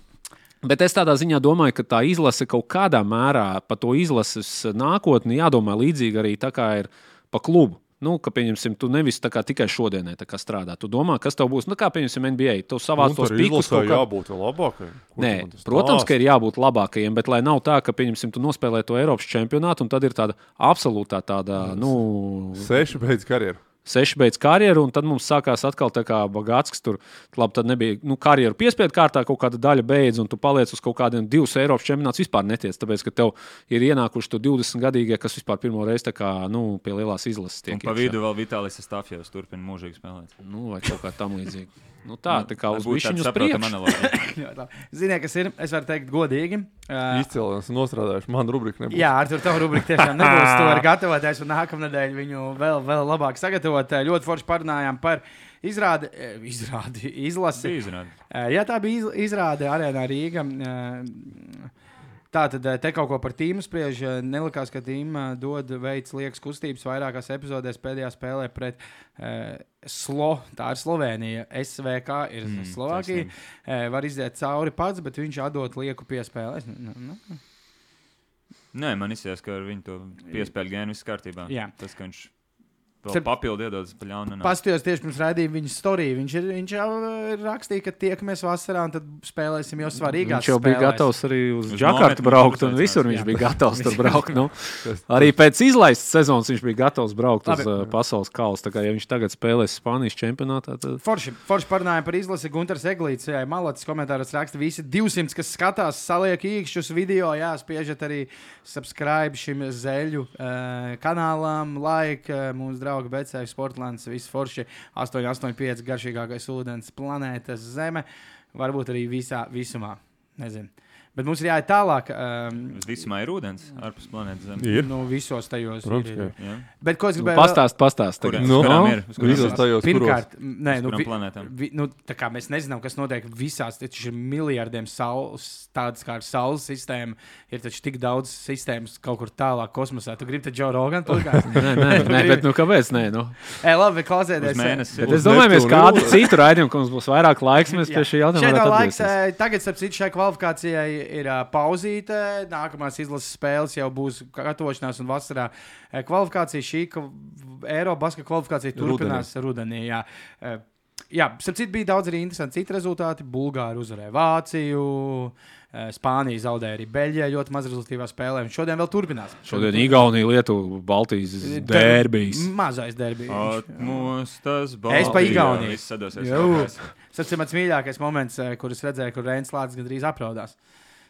C: Bet es tādā ziņā domāju, ka tā izlase kaut kādā mērā par to izlases nākotni jādomā līdzīgi arī tā kā ir pa klubu. Nu, ka, pieņemsim, tu nevis tā kā tikai šodienai tā kā strādā. Tu domā, kas tev būs, nu, kā, pieņemsim, NBA. Tu savāc
D: Nu, Un
C: tos
D: tur
C: pīkus
D: izlasē
C: kaut kā.
D: jābūt vēl labākajam. Ko tu
C: Nē,
D: man tas
C: protams,
D: stāsti?
C: ka ir jābūt labākajiem, bet lai nav tā, ka, pieņemsim, tu nospēlē to Eiropas čempionātu, un tad ir tāda absolūtā tāda, nu,
D: Seši beidz karjeru.
C: seši beidz karjeru, un tad mums sākās atkal tā kā bagāts, kas tur labi, tad nebija nu, karjeru piespiedu kārtā, kaut kāda daļa beidz, un tu paliec uz kaut kādiem divus Eiropas čempionātus vispār netiec, tāpēc, ka tev ir ienākuši tu 20 gadīgie, kas vispār pirmo reizi tā kā, nu, pie lielās izlases tiek
B: Un pa
C: iekšā.
B: vidu vēl Vitālijas Stāfjevs turpina mūžīgi spēlēt.
C: Nu, vai kaut kā tam līdzīga. Nu, tā, tā kā
B: Lai
C: uz
B: būtu tāda
C: višķiņu uz
B: saprotama
C: priekšu.
B: analogija.
A: Ziniet, kas ir? Es varu teikt godīgi. Uh,
D: Izcēlās, esmu nostrādājis. Man rubrika nebija.
A: Jā, ar to tavu rubriku tiešām nebūs. Tu vari gatavoties, un nākamnedēļ viņu vēl, vēl labāk sagatavot. Eh, Ļoti forši parunājām par izrādi, eh, izrādi izlasi.
B: Izrādi.
A: Eh, Jā, tā bija iz- izrāde Arēnā Rīgā. eh, Tā tad eh, te kaut ko par tīmu spriež. eh, Nelikās, ka tīma dod veids liekas kustības vairākās epizodēs pēdējā spēlē pret eh, Slo. Tā ir Slovenija. SVK ir mm, Slovākija. Eh, Var iziet cauri pats, bet viņš atdod lieku piespēlē. Es ne- ne- ne-
B: Nē, man izsījās, ka ar viņu to piespēļu gēnu viss kārtībā.
A: Jā.
B: Tas, ka viņš vēl
A: Starp-
B: papildu iedodas pa ļaunu. nenāk.
A: Paskatījos tieši pirms raidījuma viņa storiju. Viņš, ir, viņš jau eh, rakstīja, ka tiekamies vasarā un tad spēlēsim jau svarīgākas
C: Viņš jau bija
A: spēles.
C: gatavs arī
B: Uz
C: uz Džakartu
B: nometni
C: braukt,
B: viņš
C: un
B: uzaicinās,
C: visur viņš
A: jā.
C: bija gatavs tur braukt. Nu.
D: Tas-
C: Arī pēc izlaistas sezonas viņš bija gatavs braukt uz
A: Labi.
C: uh, pasaules kausa. Tā kā ja viņš tagad spēlēs Spānijas čempionātā, tad
A: Forši, forši parunājām par izlasi. Gunārs Eglīts, jā, malācis komentāros raksta, visi 200, kas skatās, saliek īkšķus video, jā, spiežat arī subscribe šim zeļu eh, kanālam, like eh, mūsu draugu Bēcēju Sportlands, viss forši 885 garšīgākais ūdens planētas Zeme, varbūt arī visā visumā, nezinu. Bet mums ir jāiet tālāk. Um,
B: Uz visumā ir ūdens ārpus planētas Zemes.
D: Ir.
A: Nu, visos tajos
D: Protams,
A: ir.
D: ka
A: ir.
D: ir.
B: Jā.
A: Bet ko es
C: nu,
A: gribēju?
C: pastāst, pastāst.
B: Kurā?
C: tagad.
B: Uz
D: Nu,
B: kurām ir? Uz kurām
D: visos
B: ir?
D: tajos, kuros
A: Pirmkārt, m, nē,
B: Uz
A: nu,
B: kurām
A: vi,
B: planētām?
A: vi, nu, tā kā mēs nezinām, kas notiek visās, taču ir miljardiem saules, tādas kā ir saules sistēma, ir taču tik daudz sistēmas kaut kur tālāk kosmosā. Tu gribi te Džo Rogan podkāstu?
C: Nē, nē, nē, bet nu, kāpēc? Nē, nu?
A: Ē, labi, klausieties.
B: Uz mēnesi.
C: Bet es
D: Uz
C: domāju, mēs
D: Neptūnu
C: kādu
D: jūras.
C: citu raidījumu, ka mums būs vairāk laiks, mēs
A: Jā.
C: pie šī jautājuma
A: Šeit nav
C: varētu
A: laiks,
C: atgriezties.
A: eh, tagad, starp citu, šai kvalifikācijai ir eh, pauzīte. Nākamās izlases spēles jau būs gatavošanās, un vasarā eh, kvalifikācija šī Eiropas kvalifikācija
D: Rudenī.
A: turpinās rudenī. jā. Eh, Jā, starp citu, bija daudz arī interesanti citi rezultāti. Bulgāri uzvarēja Vāciju, eh, Spānija zaudēja arī Beļģijai ļoti maz rezultātīvā spēlē. un Šodien vēl turpinās.
C: Šodien Igaunija, Lietuva, Baltijas derbijas.
A: Mazais derbijs.
B: Atmos tas
A: Es pa Igauniju.
B: Viss sadosies
A: Jū.
B: rokās.
A: Tas ir mans mīļākais moments, eh, kur es redzēju, kur Rēns Lārcis gandrīz apraudās.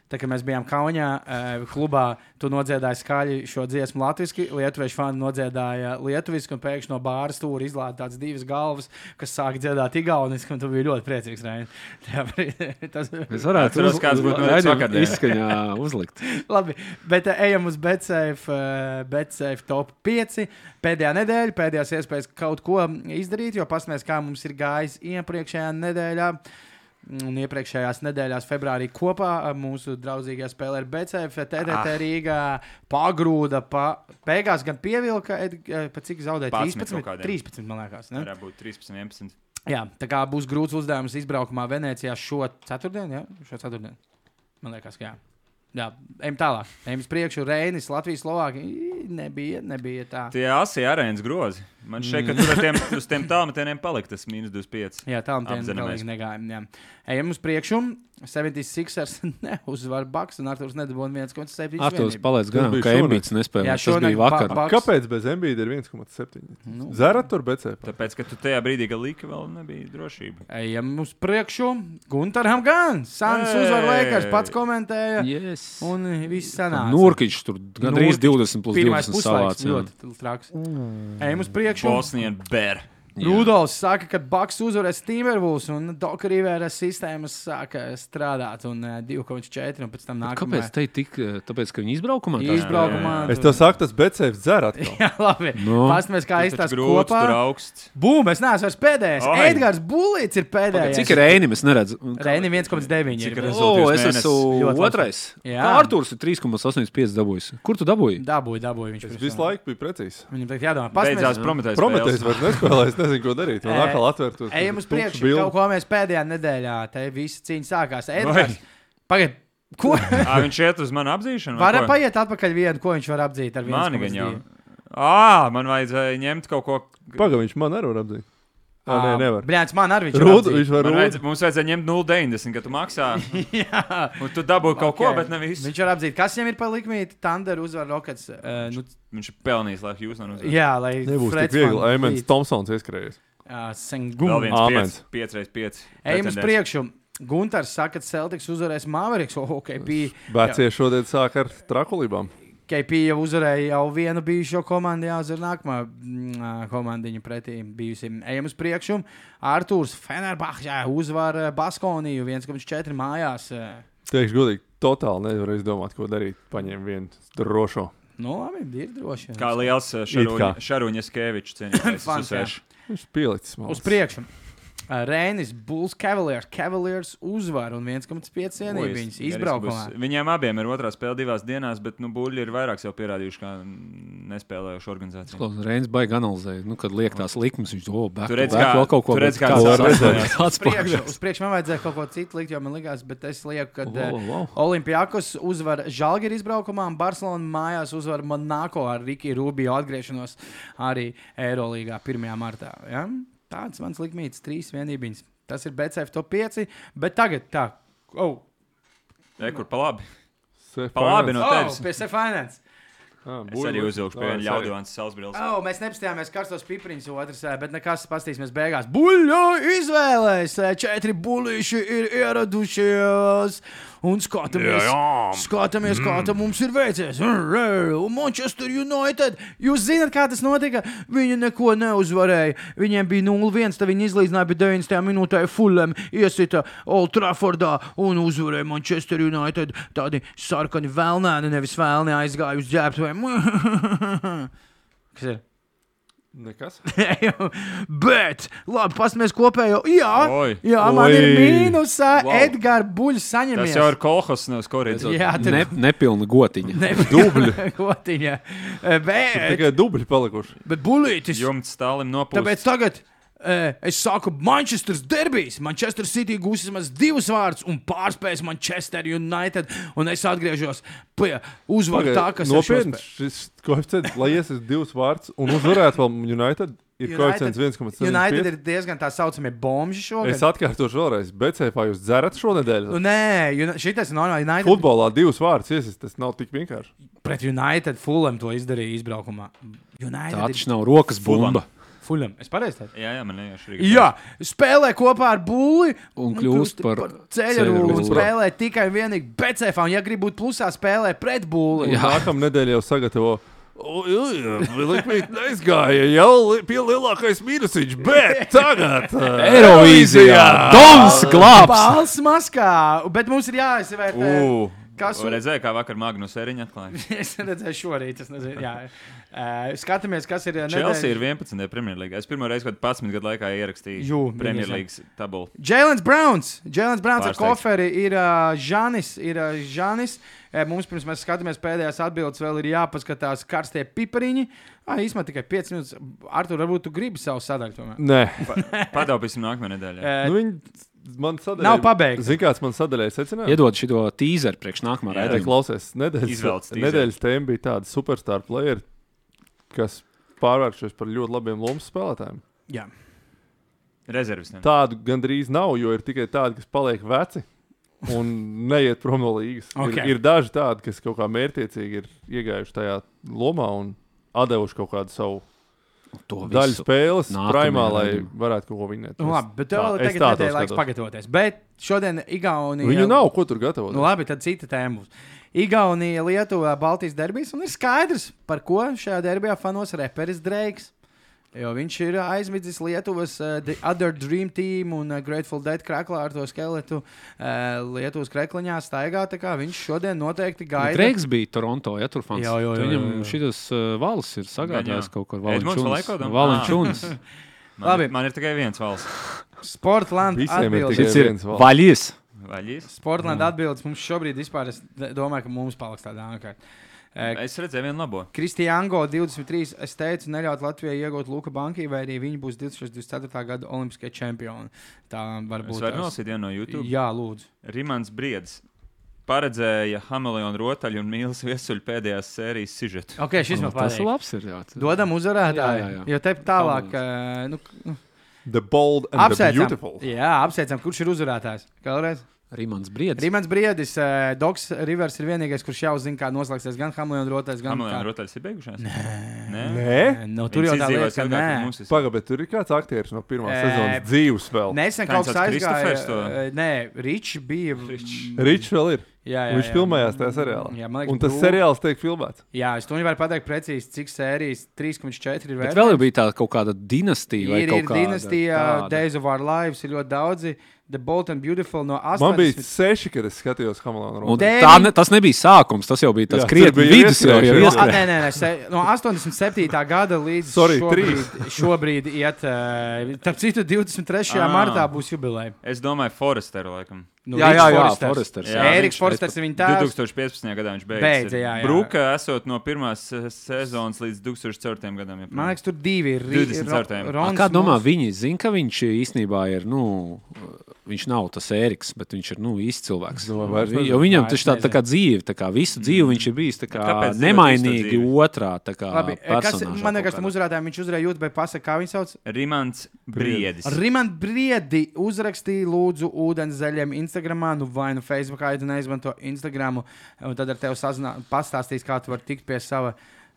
A: Tā kā mēs bijām Kaunijā, eh, klubā, tu nodziedāji skaļi šo dziesmu latviešu, lietuviešu fani nodziedāja lietuviski, un pēkšņi no bāra stūra izlaiž tādas divas galvas, kas sāk dziedāt igauniski, un tu biji ļoti priecīgs. Reini. Tajā brīdī Tas bija
C: Mēs varētu
B: Atceros, kāds būtu noticis vakardien.
C: izskaņā uzlikt.
A: labi. Bet eh, ejam uz BCF, eh, BCF top 5. Pēdējā nedēļa, pēdējās iespējas kaut ko izdarīt, jo paskatās, kā mums ir gājis iepriekšējā nedēļā. Un iepriekšējās nedēļās, februārī kopā ar mūsu draugīgajā spēlē ar eh, BCF,
B: Ah.
A: TDT Rīgā pagrūda. Pa, beigās gan pievilka, Ed- eh, pa cik zaudēja
B: 11
A: 13,
B: kaut kādiem.
A: 13 man liekas. Ne?
B: Varētu būt 13, 11.
A: Jā, tā kā būs grūts uzdevums izbraukumā Venecijā šo ceturtdienu, ja? šo ceturtdienu. Man liekas, ka jā. Jā, ejam tālāk. Ejam uz priekšu, Reinis, Latvijas Slovākija. nebija, nebija tā.
B: Tie asie arēnas grozi. Man šeit, ka tur ar tiem, uz tiem tālmetieniem palika tas mīnus 25.
A: Jā, tā mums tādā
B: Apzināmies.
A: mazā negājām. jā. Ejam uz priekšu. 76ers neuzvar Baks un Arthurs nedabūna 1,7.
E: Ar to palaidz
D: Tas
E: gan,
D: bija
E: ka
D: šonakt.
E: Emīts nespēja.
A: Jā,
E: Tas
A: šonakt
E: bija vakar.
A: pa- pa- Baks.
D: Kāpēc bez Mbīda ir 1,7?
A: Nu.
D: Zara tur becē.
B: Tāpēc, ka tu tajā brīdī, kad lika, vēl nebija drošība.
A: Ejam uz priekšu. Gunteram gan. Sāns
B: Ej!
A: uzvar Lakers, pats komentēja.
E: Yes.
A: Un viss sanāk.
E: Nurkiņš tur gandrīz 20 plus
A: Pirmais
E: 20
A: puslaiks
E: savāca. jā.
A: ļoti traks.
D: Mm.
A: Ejam uz priekšu.
B: Bosnija bērna.
E: Jā.
A: Rudolfs saka, ka Baks uzvarēs Timbervūs un Doka Rivera sistēmas sāka strādāt un eh, 2,4 un pēc
C: Nu,
A: tam nākamajā.
E: Kāpēc te ir tik? eh, Tāpēc, ka viņi izbraukumā tā-
A: Izbraukumā.
D: Es tev saku, tas becēs dzērā.
A: Jā, labi.
E: Nu.
A: No. Pastāvēs, kā
B: Tas
A: aizstās
B: ir grūti,
A: kopā.
B: tur augsts.
A: Bum, es neesmu vairs pēdējais.
B: Ai.
A: Edgars Bulīts ir pēdējais.
E: Cik ir rēni? Es neredzu.
A: Rēni 1,9.
B: Cik
A: ir.
B: Renzo?
E: O,
B: Rezultīvs
E: es
B: mēnesis.
E: esmu
A: Ļoti labs.
E: otrais.
A: Jā.
E: Jā, Arthurs ir 3,85 dabūjis. Kur tu dabūji?
A: Dabūju, dabūju. Viņš
D: Es
A: pirms
D: visu
A: tam.
D: laiku biju precīzs.
A: Viņam tagad jādomā,
B: Beidzās
A: pastāvēs.
B: Prometējs.
D: Prometējis vairs nespēlēja, es nezinu, ko darīt. Man
A: Ē,
D: atkal atvērtos.
A: Ejam uz
D: tukšs
A: priekšu.
D: bildi.
A: Kaut ko mēs pēdējā nedēļā, te visa cīņa sākās.
B: Vai?
A: Edgars, pagaid, ko?
B: Ā, viņš iet uz manu apzīšanu. vai
A: Varam
B: ko?
A: paiet atpakaļ vienu, ko viņš var apdzīt ar vienu.
B: Mani gan jau. Ā, man vajadzēja ņemt kaut ko.
D: Paga, viņš man arī var apzīt. Nē, nē, nevar.
A: Brāļs, man arī viņš ir.
D: Rūdu,
A: apdzīt.
D: viņš var
B: Man
D: rūdu.
B: Vajadz, mums vajadzēja ņemt 0,90, kad tu maksā. Un tu dabūji kaut okay. ko,
A: Ok.
B: bet ne visu.
A: Viņš var apdzīt, kas viņam ir palikmīti. Thunder uzvar Rockets. eh, nu,
B: Viņš ir pelnījis, lai jūs nenozagtu.
A: jā, lai
D: Nebūs
A: Freds
D: tik viegli.
A: man
D: Aimants
A: līdz-
D: Tomsons ieskrējies.
A: Ā,
B: Vēl
A: Sengun.
B: viens
D: Āmens.
B: 5x5.
A: Ejam uz priekšu. Gunārs saka, ka Celtics uzvarēs Mavericks. Oh, KP,
D: Vecie šodien sāk ar trakulībām.
A: KP jau uzvarēja jau vienu bijušo komandu, jāuzvar nākamā mm, ā, komandiņa pretī bijusim. Ejam uz priekšu. Arthurs Fenerbahčā uzvar eh, Baskoniju 1,4 mājās. eh.
D: Teikšu godīgi, totāli nevar izdomāt, ko darīt. Paņem vienu drošo.
A: Nu, labi, ir droši.
B: Kā liels eh, Šaruņa-
D: kā.
B: Šaruņa Skevičs cienītājs.
A: Fans, jā.
B: uzsvērš.
D: Viņš pielicis man.
A: Uz priekšu. Rēnis, Bulls, Cavaliers, Cavaliers uzvar un 1,5
B: Oi,
A: cienību
B: es
A: viņas
B: gandrīz
A: izbraukumā.
B: būs- Viņiem abiem ir otrā spēle divās dienās, bet nu, buļļi ir vairāk jau pierādījuši, kā nespēlējuši organizāciju.
E: Reins baigi analizēja, nu, kad liek tās likmes. Viņš domā, ka
B: Tu redz, kā-
E: vēl kaut ko
B: tu redz, kā
E: tāds
B: tas
E: redzēs. Tāds
A: Priekšu, uz priekšu man vajadzēja kaut ko citu likt, jo man likās, bet es lieku, ka oh, oh.
E: pagājums.
A: Olimpijakos uzvar Žalgiri izbraukumā, un Barcelona mājās uzvar Monako ar Riki Rubio atgriešanos arī Eirolīgā 1. martā. Ja? Tāds mans likmītis, trīs vienības. Tas ir BCF top 5, bet tagad tā. Oh,
B: E, kur pa labi? Pa labi
D: Palābi
B: no
A: oh
B: tevis.
A: PC Finance!
D: Ah,
B: Es arī uzvilku pie viena ļaudīvāna sausbrīlis.
A: Oh, mēs nepastījāmies karstos pipriņus, otrs, eh, bet nekas pastīsimies beigās. Buļļo izvēlēs! eh, Četri buļļiši ir ieradušies! Un skatāmies, skatāmies mm. kā tam mums ir veicies. Rrr, Un Manchester United! Jūs zināt, kā tas notika? Viņi neko neuzvarēja. Viņiem bija 0-1, tad viņi izlīdzināja, bet 90. minūtē Fulham iesita Old Traffordā un uzvarēja Manchester United. Tādi sarkani vēlnēni, nevis vēlni aizgāja uz ģērbtuviem. Kas ir?
D: Nekas.
A: Bet, labi, pasmies kopējo. Jā,
B: Oi.
A: jā man ir
D: Oi.
A: mīnusā. Wow.
B: Wow.
A: Edgars Buļs
B: Tas
A: saņemies.
B: jau ir kolhos, nevis korīts.
A: Jā, tur
E: Ne, nepilna gotiņa.
A: ne... dubļi. Gotiņa. Eh, Bet,
D: Tikai dubļi palikuši.
A: bet Buļītis.
B: Jumts tālim nopūst.
A: Tāpēc tagad eh, es saku, Manchester derbijas. Manchester City gūs vismaz divus vārdus un pārspēs Manchester United. Un es atgriežos pie uzvaras Nu, tā, kas
D: Nopietni, šis koeficients, lai iesaistītu divus vārdus un uzvarētu vēl United, ir koeficients 1,5.
A: United ir diezgan tā saucamie bomži šogad.
D: Es atkārtošu vēlreiz, BCF jūs dzerat šonadēļ.
A: Nu, Nē, šī tas ir normāli. United
D: Futbolā divus vārdus iesaistīt, tas nav tik vienkārši.
A: pret United Fulham to izdarīja izbraukumā.
E: Tā
A: United
E: taču nav rokas bumba.
A: Fulham. Es pareizi teicu.
B: Jā, jā, man nejauši arī.
A: Jā, spēlē kopā ar Bulli
E: Un kļūst par
A: ceļu un
E: ceļu.
A: spēlē tikai un vienīgi BCF. Un, ja grib būt plusā, spēlē pret Bulli.
E: Jā.
D: Nākamā nedēļa jau sagatavo. Likmīgi neizgāja jau li- pie lielākais mīnusiņš, bet tagad. ā,
E: Eirovīzijā! Doms glābs!
A: Balsts maskā, bet mums ir jāizvērtē.
B: Ū,
A: Kas
B: Kas
A: un-
B: redzēja, kā vakar Magnus Eriņš atklāja?
A: Es redzēju, šorīt. Es nezinu, jā. Eh, Skatāmies, kas ir. eh, nedēļas-
B: Chelsea ir 11. Premjerlīgā. Es pirmo reizi, kad 11 gadu laikā ierakstīju
A: Jū,
B: Premjerlīgas tabulu.
A: Jēlens Browns. Jēlens Browns ar
B: Pārsteigts.
A: koferi ir uh, Žanis. Ir, uh, Žanis. Eh, Mums, pirms mēs skatāmies pēdējās atbildes, vēl ir jāpaskatās karstie pipariņi. Ah, īsumā tikai 5 minūtes. Ar to varbūt tu gribi savu sadaļu. tomēr?
D: Nē,
B: Padaupīsim nākamajā nedēļā.
A: Eh,
D: nu, viņi man sadaļā.
A: Nav pabeigta.
D: Zini, kāds man sadaļā secinājums?
E: Iedod šo tīzeru priekš nākamā
B: Jā.
E: raidījuma.
D: Nē, klausies, nedēļas,
B: Izvelc teaser.
D: nedēļas tēma bija tāda superstar player kas pārvēršies par ļoti labiem lomas spēlētājiem.
A: Jā.
B: Rezervistiem.
D: Tādu gandrīz nav, jo ir tikai tādi, kas paliek veci un neiet prom no līgas.
A: Ok.
D: Ir, ir daži tādi, kas kaut kā mērķiecīgi ir iegājuši tajā lomā un devuši kaut kādu savu
C: To
D: daļu spēles,
C: nākamajā
D: primā, lai
C: raidījumā.
D: varētu kaut ko vinēt.
A: Nu, labi, bet tev
D: Tā,
A: vēl
D: es
A: tagad
D: tā to
A: ir laiks
D: skatos.
A: pagatavoties. Bet šodien Igaunija.
D: Viņu nav, ko tur gatavot.
A: Nu, labi, tad cita tēma. būs. Igaunija, Lietuva, Baltijas derbijas. Un ir skaidrs, par ko šajā derbijā fanos reperis Dreigs. Jo viņš ir aizmidzis Lietuvas uh, The Other Dream Team un uh, Grateful Dead krāklā ar to skeletu. Uh, Lietuvas krekliņā staigā. tā kā Viņš šodien
D: Nu,
A: noteikti gaida.
C: Reiks bija Toronto, ja tur fans.
A: Jā, jā, jā,
C: Viņam
A: jā, jā.
C: šis uh, vals ir
B: Gan
C: sagādājis
B: jā.
C: kaut kur
B: Edmunds
C: Valenčūnas.
B: Valaikodam?
C: Valenčūns.
B: Man,
A: Labi.
B: ir- man ir tikai viens valsts.
A: Sportlands
D: Visiem ir
A: atbildēs.
D: tikai
E: Šis ir
D: viens valsts.
E: vaļies.
B: Vaļīs.
A: Sportlands atbildēs. Mums šobrīd vispār, es de- domāju, ka mums paliks tādā ankārt. Uh,
B: Es redzēju vienu labo.
A: Kristiāngo 23. Es teicu, neļaut Latvijai iegūt Luka Banku, vai arī viņi būs 2024. gada Olimpiskie čempioni. Tā var
B: Es
A: būt.
B: varu nolasīt vienu no YouTube.
A: Jā, lūdzu.
B: Rimans Briedis paredzēja Hameleona rotaļu un Mīlas viesuļu pēdējās sērijas sižetu.
A: Ok, šis
E: Nu,
A: man
C: Nu, Tas
A: patīk.
C: labs ir labs.
A: Dodam uzvarētāju. Jā, jā,
C: Jā, jā,
A: jā.
C: jā.
A: Jo te tālāk, eh, nu,
D: The bold and the
A: apsveicam.
D: beautiful.
A: Jā, apsveicam, kurš ir uzvarētājs. Kālreiz?
C: Rimans Briedis.
A: Rimans Briedis, eh, Dogs Rivers ir vienīgais, kurš jau zina, kā noslēgsies gan Hamlina rotais, gan
B: Hameleona
A: kā-
B: rotaļas ir beigušās? Nē. Nē.
D: Nē,
A: Nu, tur jau tā liekas, ka nē.
B: Mums ir
D: pagaidi, bet tur ir kāds aktieris no pirmās
A: Ē,
D: sezonas dzīves vēl.
A: Nesen
B: Kā
A: kaut kas
B: viņš sauc, Kristofers to?
A: aizgāja. eh, Nē, Ričs bija.
B: Ričs.
D: Ričs vēl ir.
A: Jā, jā,
D: Viņš
A: jā.
D: filmējās tajā seriālā.
A: Jā, man liekas,
D: Un tas
A: brū-
D: seriāls tiek filmēts.
A: Jā, es to nevaru pateikt precīzi, cik sērijas 3,4 ir.
C: Bet
A: vērtējums.
C: vēl jau bija tā kaut kāda dinastija. vai
A: ir,
C: kaut
A: ir
C: kāda
A: dinastija,
C: tāda.
A: Days of Our Lives ir ļoti daudzi. The Bolt and Beautiful no 8.
D: Man bija seši, kad es skatījos Hamiltonu
C: Un
D: Rotu.
A: Dēļ-
C: tā ne, tas nebija sākums, tas jau bija tas
D: Jā, tur
C: krietni
D: bija
C: vidus. Jau, jau
A: No,
D: iestrēgšana. Yes,
A: a,
C: iestrēgšana.
A: Ah, nē, nē, nē, se, no 87. gada līdz
D: Sorry,
A: šobrīd,
D: trīs.
A: šobrīd iet. eh, Starp citu, 23.
B: Ah.
A: martā būs jubileja.
B: es domāju, Foresteru laikam.
A: Nu,
C: jā, jā, jā,
A: Foresters.
C: Foresters.
B: Jā,
A: Ēriks
B: viņš-
A: Forsters ir viņa tēvs.
B: 2015. gadā viņš
A: Beidza,
B: beidzas.
A: jā, jā.
B: Brūka esot no pirmās eh, sezonas līdz 2004. gadam. joprojām.
A: Man liekas, tur divi ir. Ri-
B: 24.
A: Ro-
B: A,
C: A
A: Rons
C: Kā domā,
A: Mons-
C: viņi zina, ka viņš īstenībā ir, nu, viņš nav tas Eriks, bet viņš ir, nu, īsts cilvēks.
D: No, vairs
C: Vi-
D: nezinu.
C: Jo viņam
A: Vairs
C: taču tā, tā kā dzīve, tā kā visu dzīvi viņš ir bijis tā kā
B: Kāpēc dzīvot
C: nemainīgi
B: īsto dzīvi?
C: otrā, tā kā
A: Labi, eh, kas,
C: personāžā
A: man
C: kaut
A: liekas, tam
C: kādā.
A: uzrādājumam viņš uzrādīja jūtu, bet pasaka, kā viņu sauc.
B: Rimants Briedis.
A: Rimant Briedi uzrakstīja, lūdzu, ūdeni zaļiem Instagram, nu vai nu Facebookā, ja tu neizmanto Instagram, un tad ar tevi sazinā, pastāstīs, kā tu vari tikt pie sava.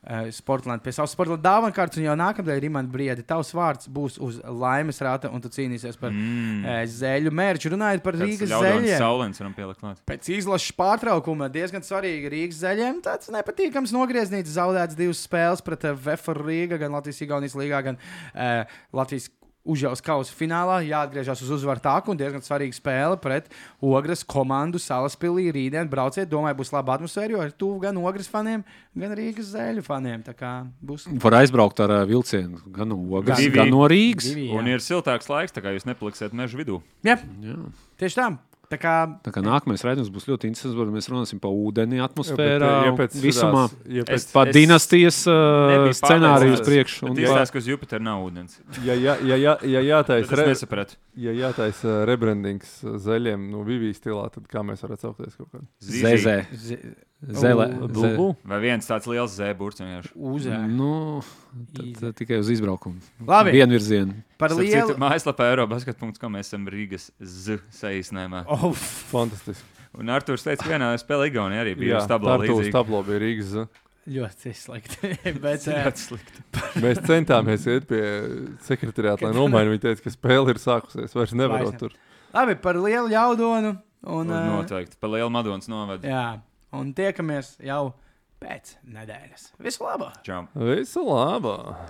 A: eh, Sportlēna pie savas sporta dāvanakārtas, un jau nākamajā Rimant Briedi tavs vārds būs uz laimes rāta, un tu cīnīsies par mm. zēļu mērķu. Runājot par Rīgas
B: Zaļie.
A: zēļiem.
B: Saulēns varam pielikt klāt.
A: Pēc izlases pārtraukuma diezgan svarīgi Rīgas zaļiem. Tāds nepatīkams nogrieziens, zaudēts divas spēles pret Vēfru Rīgā, gan Latvijas-Igaunijas līgā, gan uh, Latvijas. Užjauts kausa finālā, jāatgriežas uz uzvaru tāku un diezgan svarīga spēle pret Ogres komandu Salaspīlī. Rītdien brauciet, domāju, būs laba atmosfēra, jo ir tuvu gan Ogres faniem, gan Rīgas zēļu faniem. Tā kā būs
C: Var aizbraukt ar ā, vilcienu gan no Ogas,
B: Divi.
C: gan no Rīgas.
A: divi.
B: Un
A: Jā,
B: ir siltāks laiks, tā kā jūs nepaliksiet meža vidū.
A: jā
C: Jā.
A: tieši tā. Tā kā
C: Tā kā nākamais raidījums būs ļoti interesants, bet mēs runāsim par ūdeni,
D: ja
C: atmosfērā,
D: pēc
C: visumā.
D: sudās- ja,
B: Es-
D: pēc,
C: Par
B: es
C: dinastijas ā,
B: Nebiju
C: scenāriju uz
B: pārliecināts,
C: priekšu.
B: bet
C: un par-
B: Izskatās, ka uz Jupitera nav ūdens.
D: ja, ja, ja, ja, ja
B: Es
D: jātais, re,
B: nesapratu.
D: ja jātais uh, rebrandings uh, zaļiem, nu, Vivijas stilā, tad kā mēs varētu saukties kaut kādā?
B: Zīzī.
C: Zezē. Zele. ze-
D: Bulbu?
B: Vai viens tāds liels zēbūrs vienkārši.
A: uzvārds.
C: Nu, tad,
A: Īze.
C: tad tikai uz izbraukumu.
A: Labi,
C: Vienvirzienu.
A: par
B: Starp
A: lielu.
B: citu, Mājaslapā Eurobasket.com mēs esam Rīgas Z saīsinājumā.
A: Oh,
D: Fantastiski.
B: Un Arthurs teica, ka vienā spēlē Igaunijā arī bija
D: Jā,
B: uz
D: tā
B: tablo
D: ir
B: līdzīga.
D: tablo bija Rīgas. uh, za.
A: ļoti slikti. Bet, eh,
B: Ļoti slikti.
D: Mēs centāmies iet pie sekretariāta, lai nomainītu. Viņa teica, ka spēle ir sākusies. Vairs
A: Vairs
D: nevarot
A: ne.
D: tur.
A: Labi, par lielu jaudonu. Un, eh,
B: Noteikti. Pa lielu Madonas novadu.
A: jā, un tiekamies jau pēc nedēļas. Visu labu!
B: Čau.
D: Visu labā!